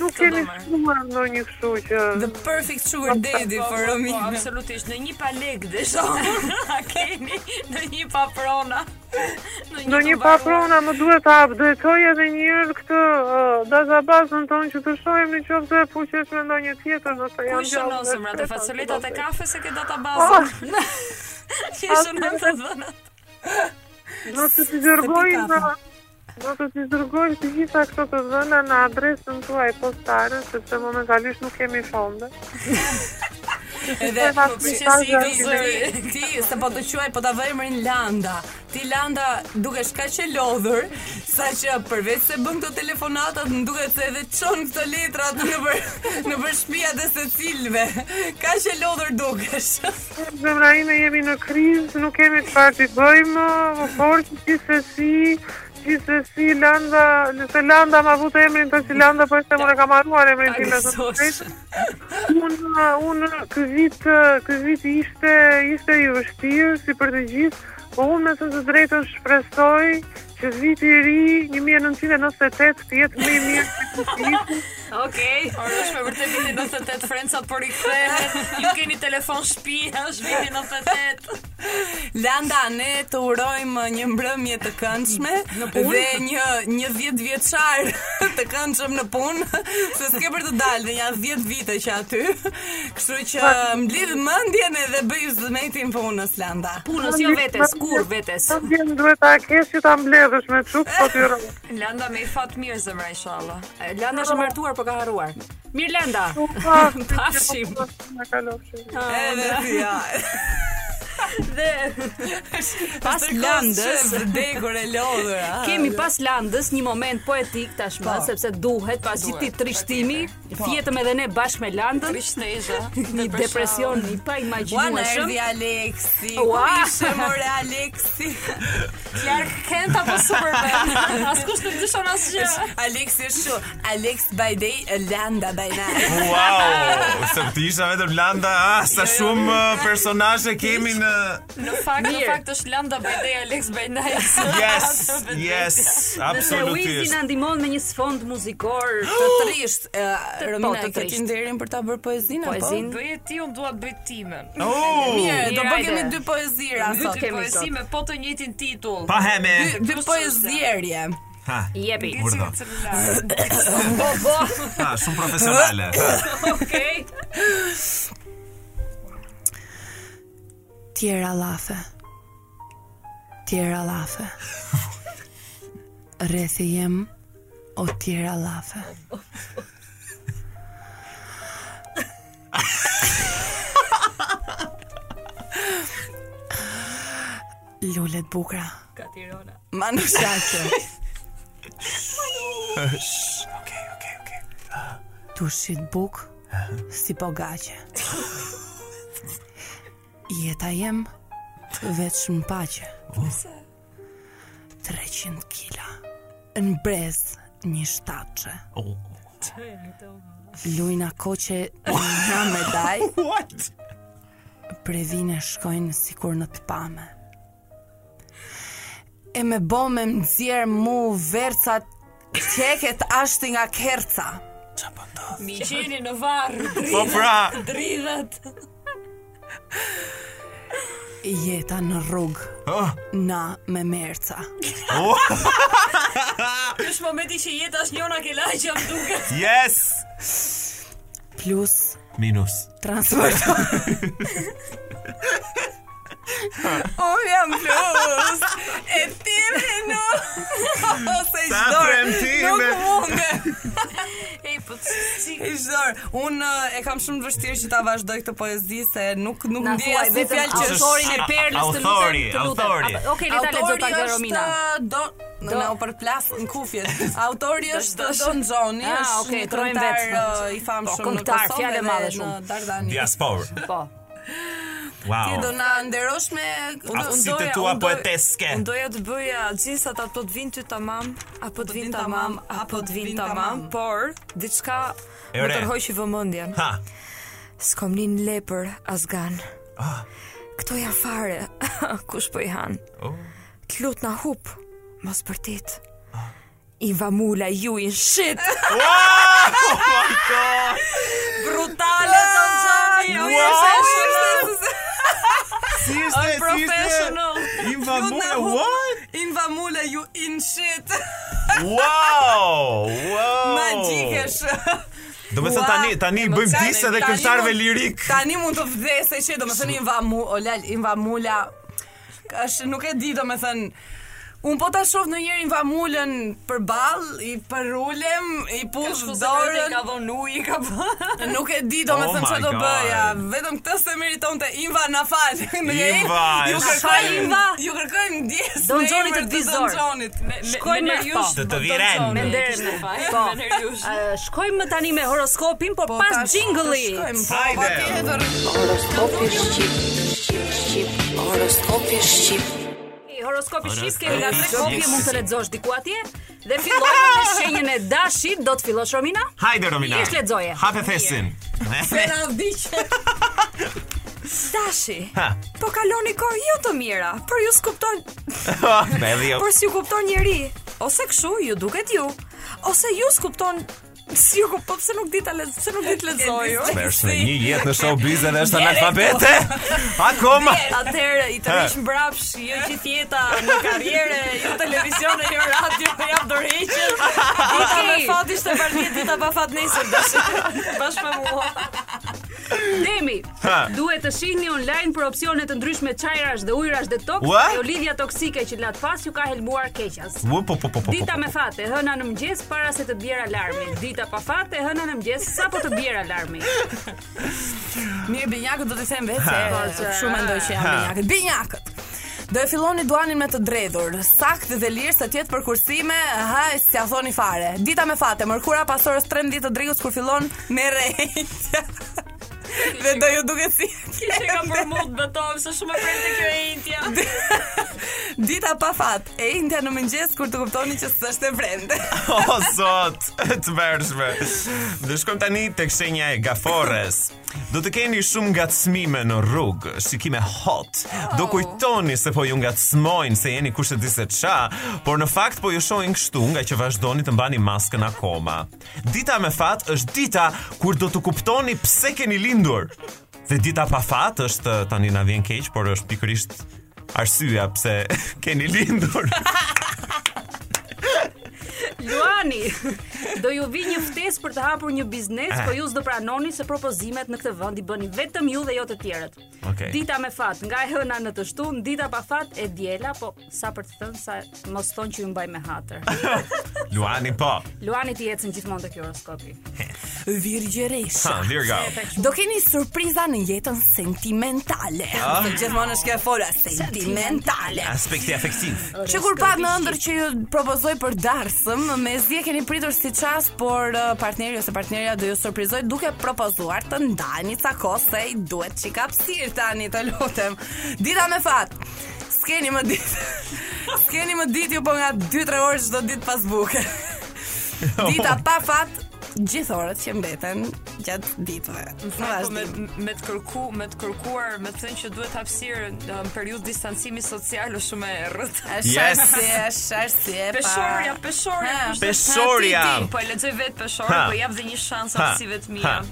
nuk keni marr. shkuar ndonjë një kështu që... The perfect sugar daddy Po, for po, Po, Romina. absolutisht, në një palek dhe shonë, a keni në një paprona. Në një të mbaruar. patrona më duhet të updatoj edhe njërë këtë uh, databazën tonë që të shohim në qoftë se fuqesh me ndonjë tjetër nëse Ku jam i shënon zemrat e shpesh, facoletat e ashtu kafe se ke Oh. databazën? Që i shënon të dhënat? do të t'i dërgoj Se pi në Do të t'i dërgoj të gjitha këto të dhëna në adresën tuaj postare, sepse momentalisht nuk kemi fonde. Edhe Po, po, prishe prishe si i ti- zëri. Ti se po të quaj po ta vë emrin Landa. Ti Landa dukesh kaq e lodhur saqë përveç se bën këto telefonatat, më duket se edhe çon këto letrat në për në për shtëpiat e secilve. Kaq e lodhur dukesh. Zemra ime jemi në krizë, nuk kemi çfarë të bëjmë, por që gjithsesi gjithsesi Landa, nëse Landa ma vute emrin të si Landa, po ishte unë e kam harruar emrin tim me të Gëzosh. drejtën. Unë, unë ky vit, ky vit ishte, ishte i vështirë si për të gjithë, po unë me të të drejtën shpresoj që viti i ri 1998 të jetë më i mirë se ky vit. Okej. Orë është me vërtet viti 98 Franca por i kthehet. Ju keni telefon shtëpi, është viti 98. Landa, ne të urojmë një mbrëmje të këndshme dhe një një 10 vjeçar të këndshëm në punë, se s'ke për të dalë, dhe janë 10 vite që aty. Kështu që mblidh mendjen edhe bëj zëmetin punës Landa. Punës jo vetes, kur vetes. Sa vjen duhet ta kesh që ta mbledhësh me çup po ti rrë. Landa me i fat mirë zemra inshallah. E, Landa është e martuar por ka harruar. Mirë Landa. Pafshim. Na kalofshim. Edhe ty ja. Dhe pas Landës vdekur e lodhur. a? kemi pas Landës një moment poetik tashmë Po. sepse duhet pra pas gjithë këtij trishtimi, fjetëm edhe ne bashkë me Landën. Krishnezha. Një depresion, një pa Ua në imagjinueshëm. erdhi Aleksi, ku Ua. ishe more Aleksi? Clark Kent apo Superman. Askush nuk dyshon asgjë. Aleksi është shu, Alex by day, Landa by night. Wow, se ti isha vetëm Landa, ah, sa Jo, shumë uh, personazhe kemi në Në fakt, në Mirë. fakt është Landa Bede Alex Bendaj. Yes, yes, Nëse Wizi absolutisht. na ndihmon me një sfond muzikor të Të trisht, e, Romina, të e ke trisht. ti nderin për ta bërë poezinë apo? Poezin. Bëje ti, unë dua të bëj timen. Oh, Mirë, do Mirë, bëj kemi hajde. dy poezira Dy sot. të poezi me po të njëjtin titull. pa heme. Dy- Dy poezierje. Ha, Jepi. Burdo. Celular. Ha, shumë profesionale. Ha. Okej. Tjera lafe. Tjera lafe. Rrethi jem o tjera lafe. Lullet bukra. Katirona. Manu shaqe. Manu. Okej, okej, okej. Tushit buk si po gaqe. Jeta jem veç në paqe. 300 kila në brez një shtatçe. Oh. Lujna koqe nga medaj, What? brevine shkojnë sikur në të pame. E me bome më nxjerr mu vercat qeket ashti nga kerca. Mi gjeni në varr, Po pra, dridhet. Jeta në rrugë, oh, na me merca. Është momenti që jeta është njona ke lagja më duket. yes. Plus Minus. Transportor. o Oh, jam plus E ti në Ose i Sa shdor premtime. Nuk munde Ej, po si I shdor Unë e kam shumë vështirë që ta vazhdoj këtë poezi Se nuk nuk Na ndje thuaj asnjë vetëm fjalë që është autorin e perlës të Autori, lutem, të lutem. autori. Apo- Okej, le ta lexoj pak dhe Romina. do Do na u përplas në kufje. Autori është Vazhdosh. Don Johnny, Ah, është okej, një trojmë këngëtar, vetë. ë, i famshëm Po, në këngëtar, Kosovë fjalë dhe madhë në shumë. Dardani. Diaspor. Po. Ti do Wow. na nderosh me Aftësitë doja- tua unë doja- poeteske. Unë doja të bëja gjensat apo të vinë ty tamam, apo të vinë tamam, apo të vinë tamam, por diçka Ere. më tërhoqi vëmendjen. Ha. S'kom nin lepër as gan. Ah. Këto ja fare, kush po i han? Oh. T'lut na hup, mos përtit. Ah. I vamula ju in shit. Oh brutale Don Ah! Johnny. Wow! Si ishte, si ishte? Professional. Imba Ju na mule, hu- what? In vamule ju in shit. Wow! Wow! Magjikesh. Do me thënë Ua, tani, tani bëjmë Tani- disë edhe tani këngëtarve mund- lirik. Tani mund të vdesë që domethënë in vamu, o lal, in vamula. Është nuk e di domethënë Un po ta shoh në njërin in vamulën përball, i përulem, i push po dorën. ka dhon uji, ka bën. Nuk e di do me Oh thëmë që my do God. bëja Vetëm këtë se meriton të Imva na fal Imva, Ju është- kërkoj Imva Ju kërkoj ndjes Don në Johnit emër të vizor. Don Johnit Shkojmë me po. Të të viren. Me nderën. Po. Ë, Shkojmë tani me horoskopin, por pas po jingle-it. Hajde. Ej, Horoskopi Horoskopi shqip kemi nga tre shqip. kopje mund të lexosh diku atje dhe fillojmë me shenjën e dashit, do të fillosh Romina? Hajde, Romina. Ish lexoje. Hape thesin. Na vdiqe Dashi. Ha. Po kaloni kohë jo të mira, por ju s'kupton, Me edhe jo. por si ju kupton njeri, ose kështu ju duket ju, ose ju s'kupton Si ju po pse nuk di ta lez, pse nuk di të lexoj. jo? Është me një jetë në showbiz dhe është analfabete. po. Akoma. Atëherë i tërheq mbrapsh, jo gjithë jeta në karrierë, jo televizion e jo radio, po jap dorëheqjes. Dita me fat ishte për 10 dita pa fat nesër dash. Bash me mua. Demi, Ha. duhet të shihni online për opsione të ndryshme çajrash dhe ujrash detox, Ua? jo lidhja toksike që lat pas ju ka helmuar keqas. Po po po po po. Dita me fate, hëna në mëngjes para se të bjerë alarmi. Dita pa fate, hëna në mëngjes sapo të bjerë alarmi. Mirë binjakët do t'i them vetë se shumë mendoj Po, që janë binjakët. Binjakët. Do e filloni duanin me të dredhur, saktë dhe lirë se tjetë për kursime, ha, s'ja thoni fare. Dita me fate, mërkura pas orës 13 të drejus kur fillon me rejtja. dhe do ju duke si... Kishe ka përmut beton se shumë e premte kjo e intja. Dita pa fat, e indja në mëngjes kur të kuptoni që s'është e brende. O zot, të mërshme. Dhe shkojmë tani tek shenja e gafores. Do të keni shumë ngacmime në rrugë, shikime hot. Do kujtoni se po ju ngacmojnë se jeni kushtet dise qa, por në fakt po ju shohin kështu nga që vazhdoni të mbani maskën akoma. Dita me fat është dita kur do të kuptoni pse keni lindur. Dhe dita pa fat është tani na vjen keq, por është pikërisht arsyeja pse keni lindur. Luani, do ju vi një ftesë për të hapur një biznes, Eh. po ju s'do pranoni se propozimet në këtë vend i bëni vetëm ju dhe jo të tjerët. Okej. Dita me fat, nga e hëna në të shtun, dita pa fat e diela, po sa për të thënë sa mos thonë që ju mbaj me hatër. Luani po. Luani ti ecën gjithmonë tek horoskopi. Virgjëresh. Ha, Virgo. Do keni surpriza në jetën sentimentale. Ah. Gjithmonë është kjo fola sentimentale. Aspekti afektiv. Që kur pa në ëndër që ju propozoj për darsëm, me zje keni pritur si qas, por eh, partneri ose partnerja do ju surprizoj duke propozuar të ndani ca kohë se i duhet që ka pësirë tani të lutem. Dita me fat, s'keni më ditë, s'keni më ditë ju po nga 2-3 orë çdo ditë pas buke. Dita pa fat, gjithë orët që mbeten gjatë ditëve. Në Po me, vazhdim. me të kërku, me të kërkuar, me të thënë që duhet hapësirë në në periudhë distancimi social është shumë e rrët. Yes. Sharsje, pa... Peshorja, peshorja, Ha. kush është Peshorja. ti, ti? Po e lexoj vetë peshorja, Ha. po jap dhe një shans Ha. hapësive të mia. Ha.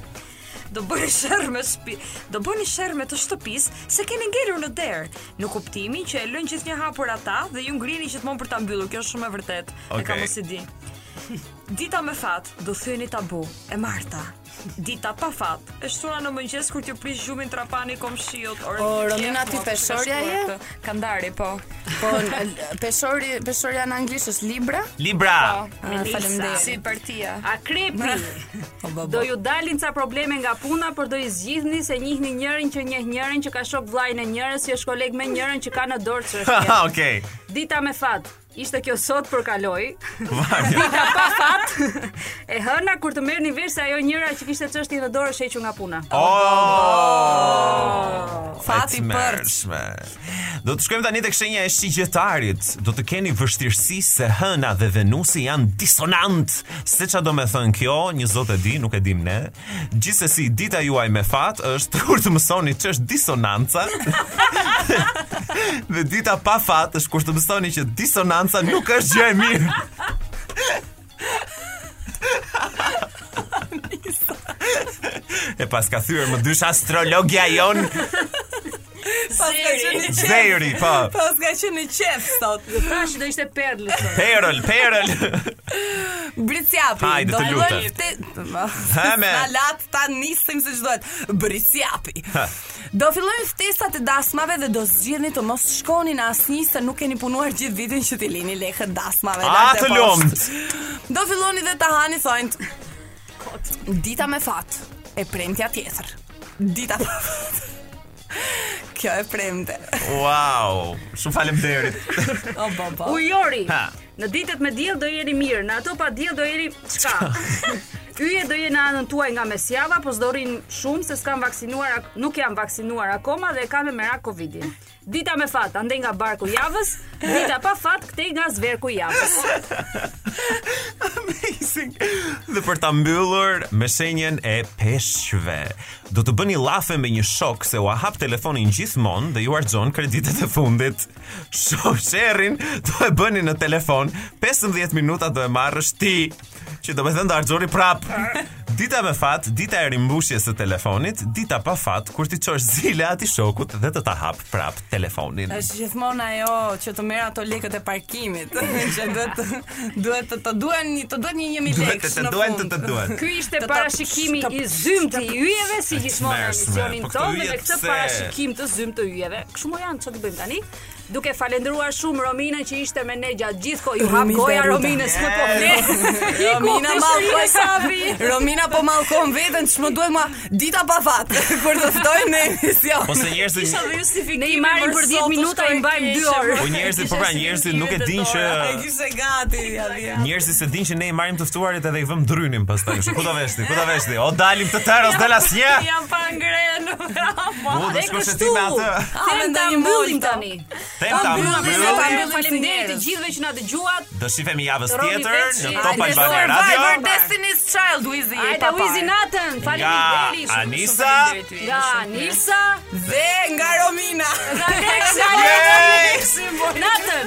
Do bëni sherr me shtëpi, do bëni sherr me të shtëpisë se keni ngelur në derë, në kuptimin që e lënë gjithnjë hapur ata dhe ju ngrini gjithmonë për ta mbyllur. Kjo është shumë e vërtetë. E Okej. kam mos e di. Dita me fat do thyeni tabu e Marta. Dita pa fat e shtura në mëngjes kur t'ju prish gjumin trapani komshiut orë. O, qef, Po, Romina, ti mos të peshorja kashkuar je? këtë. Kandari po. Po, n- l- peshori, peshoria në anglisht është Libra. Libra. Po. Ah, Faleminderit. Si partia. Akrepi, do ju dalin ca probleme nga puna, por do i zgjidhni se njihni njërin që njeh njërin që ka shok vllajën e njërës, që është koleg me njërin që ka në dorë çështje. Haha, Okej. Dita me fat. Ishte kjo sot për kaloj. Varja. Dita pa fat. E hëna kur të merrni vesh se ajo njëra që kishte çështje në dorë është hequr nga puna. Oh! Fati e tmerrshme. Do të shkojmë tani tek shenja e shigjetarit. Do të keni vështirësi se Hëna dhe Venusi janë disonant. Se çfarë do të thënë kjo, një zot e di, nuk e dim ne. Gjithsesi, dita juaj me fat është kur të mësoni ç'është disonanca. dhe dita pa fat është kur të mësoni që disonanca nuk është gjë e mirë. E pas ka thyer më dysh astrologja jon Pas ka qenë i qef. Zeri, po. Pas ka qenë i qef sot. Tash do ishte perlë sot. Perël, perël. Britsjapi. Hajde, do të lutem. bëjmë fte- Hame. Na lat ta nisim siç duhet. Britsjapi. Do fillojnë ftesat e dasmave dhe do zgjidhni të mos shkoni në asnjë se nuk keni punuar gjithë vitin që t'i lini lekët dasmave. A lart e të poshtë. lumt. Do filloni dhe të hani thonjt. Dita me fat, e premtja tjetër. Dita pa fat. Kjo e premte. Wow, shumë faleminderit. O baba. Ujori. Ha. Në ditët me diell do jeni mirë, në ato pa diell do jeni çka? Yje do jeni në anën tuaj nga mesjava, po s'do rrin shumë se s'kan vaksinuar, ak- nuk janë vaksinuar akoma dhe kanë me merak Covidin. Dita me fat, andej nga barku javës, dita pa fat, kthej nga zverku javës. Amazing. Dhe për ta mbyllur me shenjën e peshqve. Do të bëni llafe me një shok se u hap telefonin gjithmonë dhe ju harxhon kreditet e fundit. Shosherin do e bëni në telefon, 15 minuta do e marrësh ti, që do të thënë do harxhoni prap. Dita me fat, dita e rimbushjes së telefonit, dita pa fat kur ti çosh zile aty shokut dhe të ta hap prap telefonin. Është gjithmonë ajo që të merr ato lekët e parkimit, që duhet duhet të të duhen, të duhet një 1000 Duhet lekë. të të duan të të duan. Ky ishte parashikimi i zymt i yjeve si gjithmonë në Mesme, emisionin po këto tonë dhe me yjet këtë pse? parashikim të zymt të yjeve. Kështu mo janë ç'do të bëjmë tani? Duke falendëruar shumë Rominën që ishte me ne gjatë gjithë kohë. Ju hap Romi goja Beruta. Rominës në po flet. Romina mallkoj Savi. Romina po mallkon veten, ç'më duhet ma dita pa fat kur të ftojnë në emision. Ose njerëzit Ne i marrim për 10 minuta i mbajmë 2 orë. Po njerëzit, po pra njerëzit nuk e dinë që kishte gati ja vjen. njerëzit se dinë që ne i marrim të ftuarit edhe i vëm drynin pastaj. Kështu, Ku ta veshni? Ku ta veshni? O dalim të tërë, os dal asnjë. Jam pa ngrenë. U do Dhe shkosh e ti kështu. me atë. Them ta mbyllim tani. Them ta Dhe mbyll. ta mbyllim faleminderit të gjithëve që na dëgjuat. Do shifemi javës Romi tjetër Veçi. në Top Hajde, Albania Survivor Radio Survivor Destiny's Child Wizi. Ajde Wizi natën. Faleminderit. nga shumë, Anisa. shumë faleminderit. Nga Anisa. Dhe nga Romina. Nga Alexa. Yay! Natën.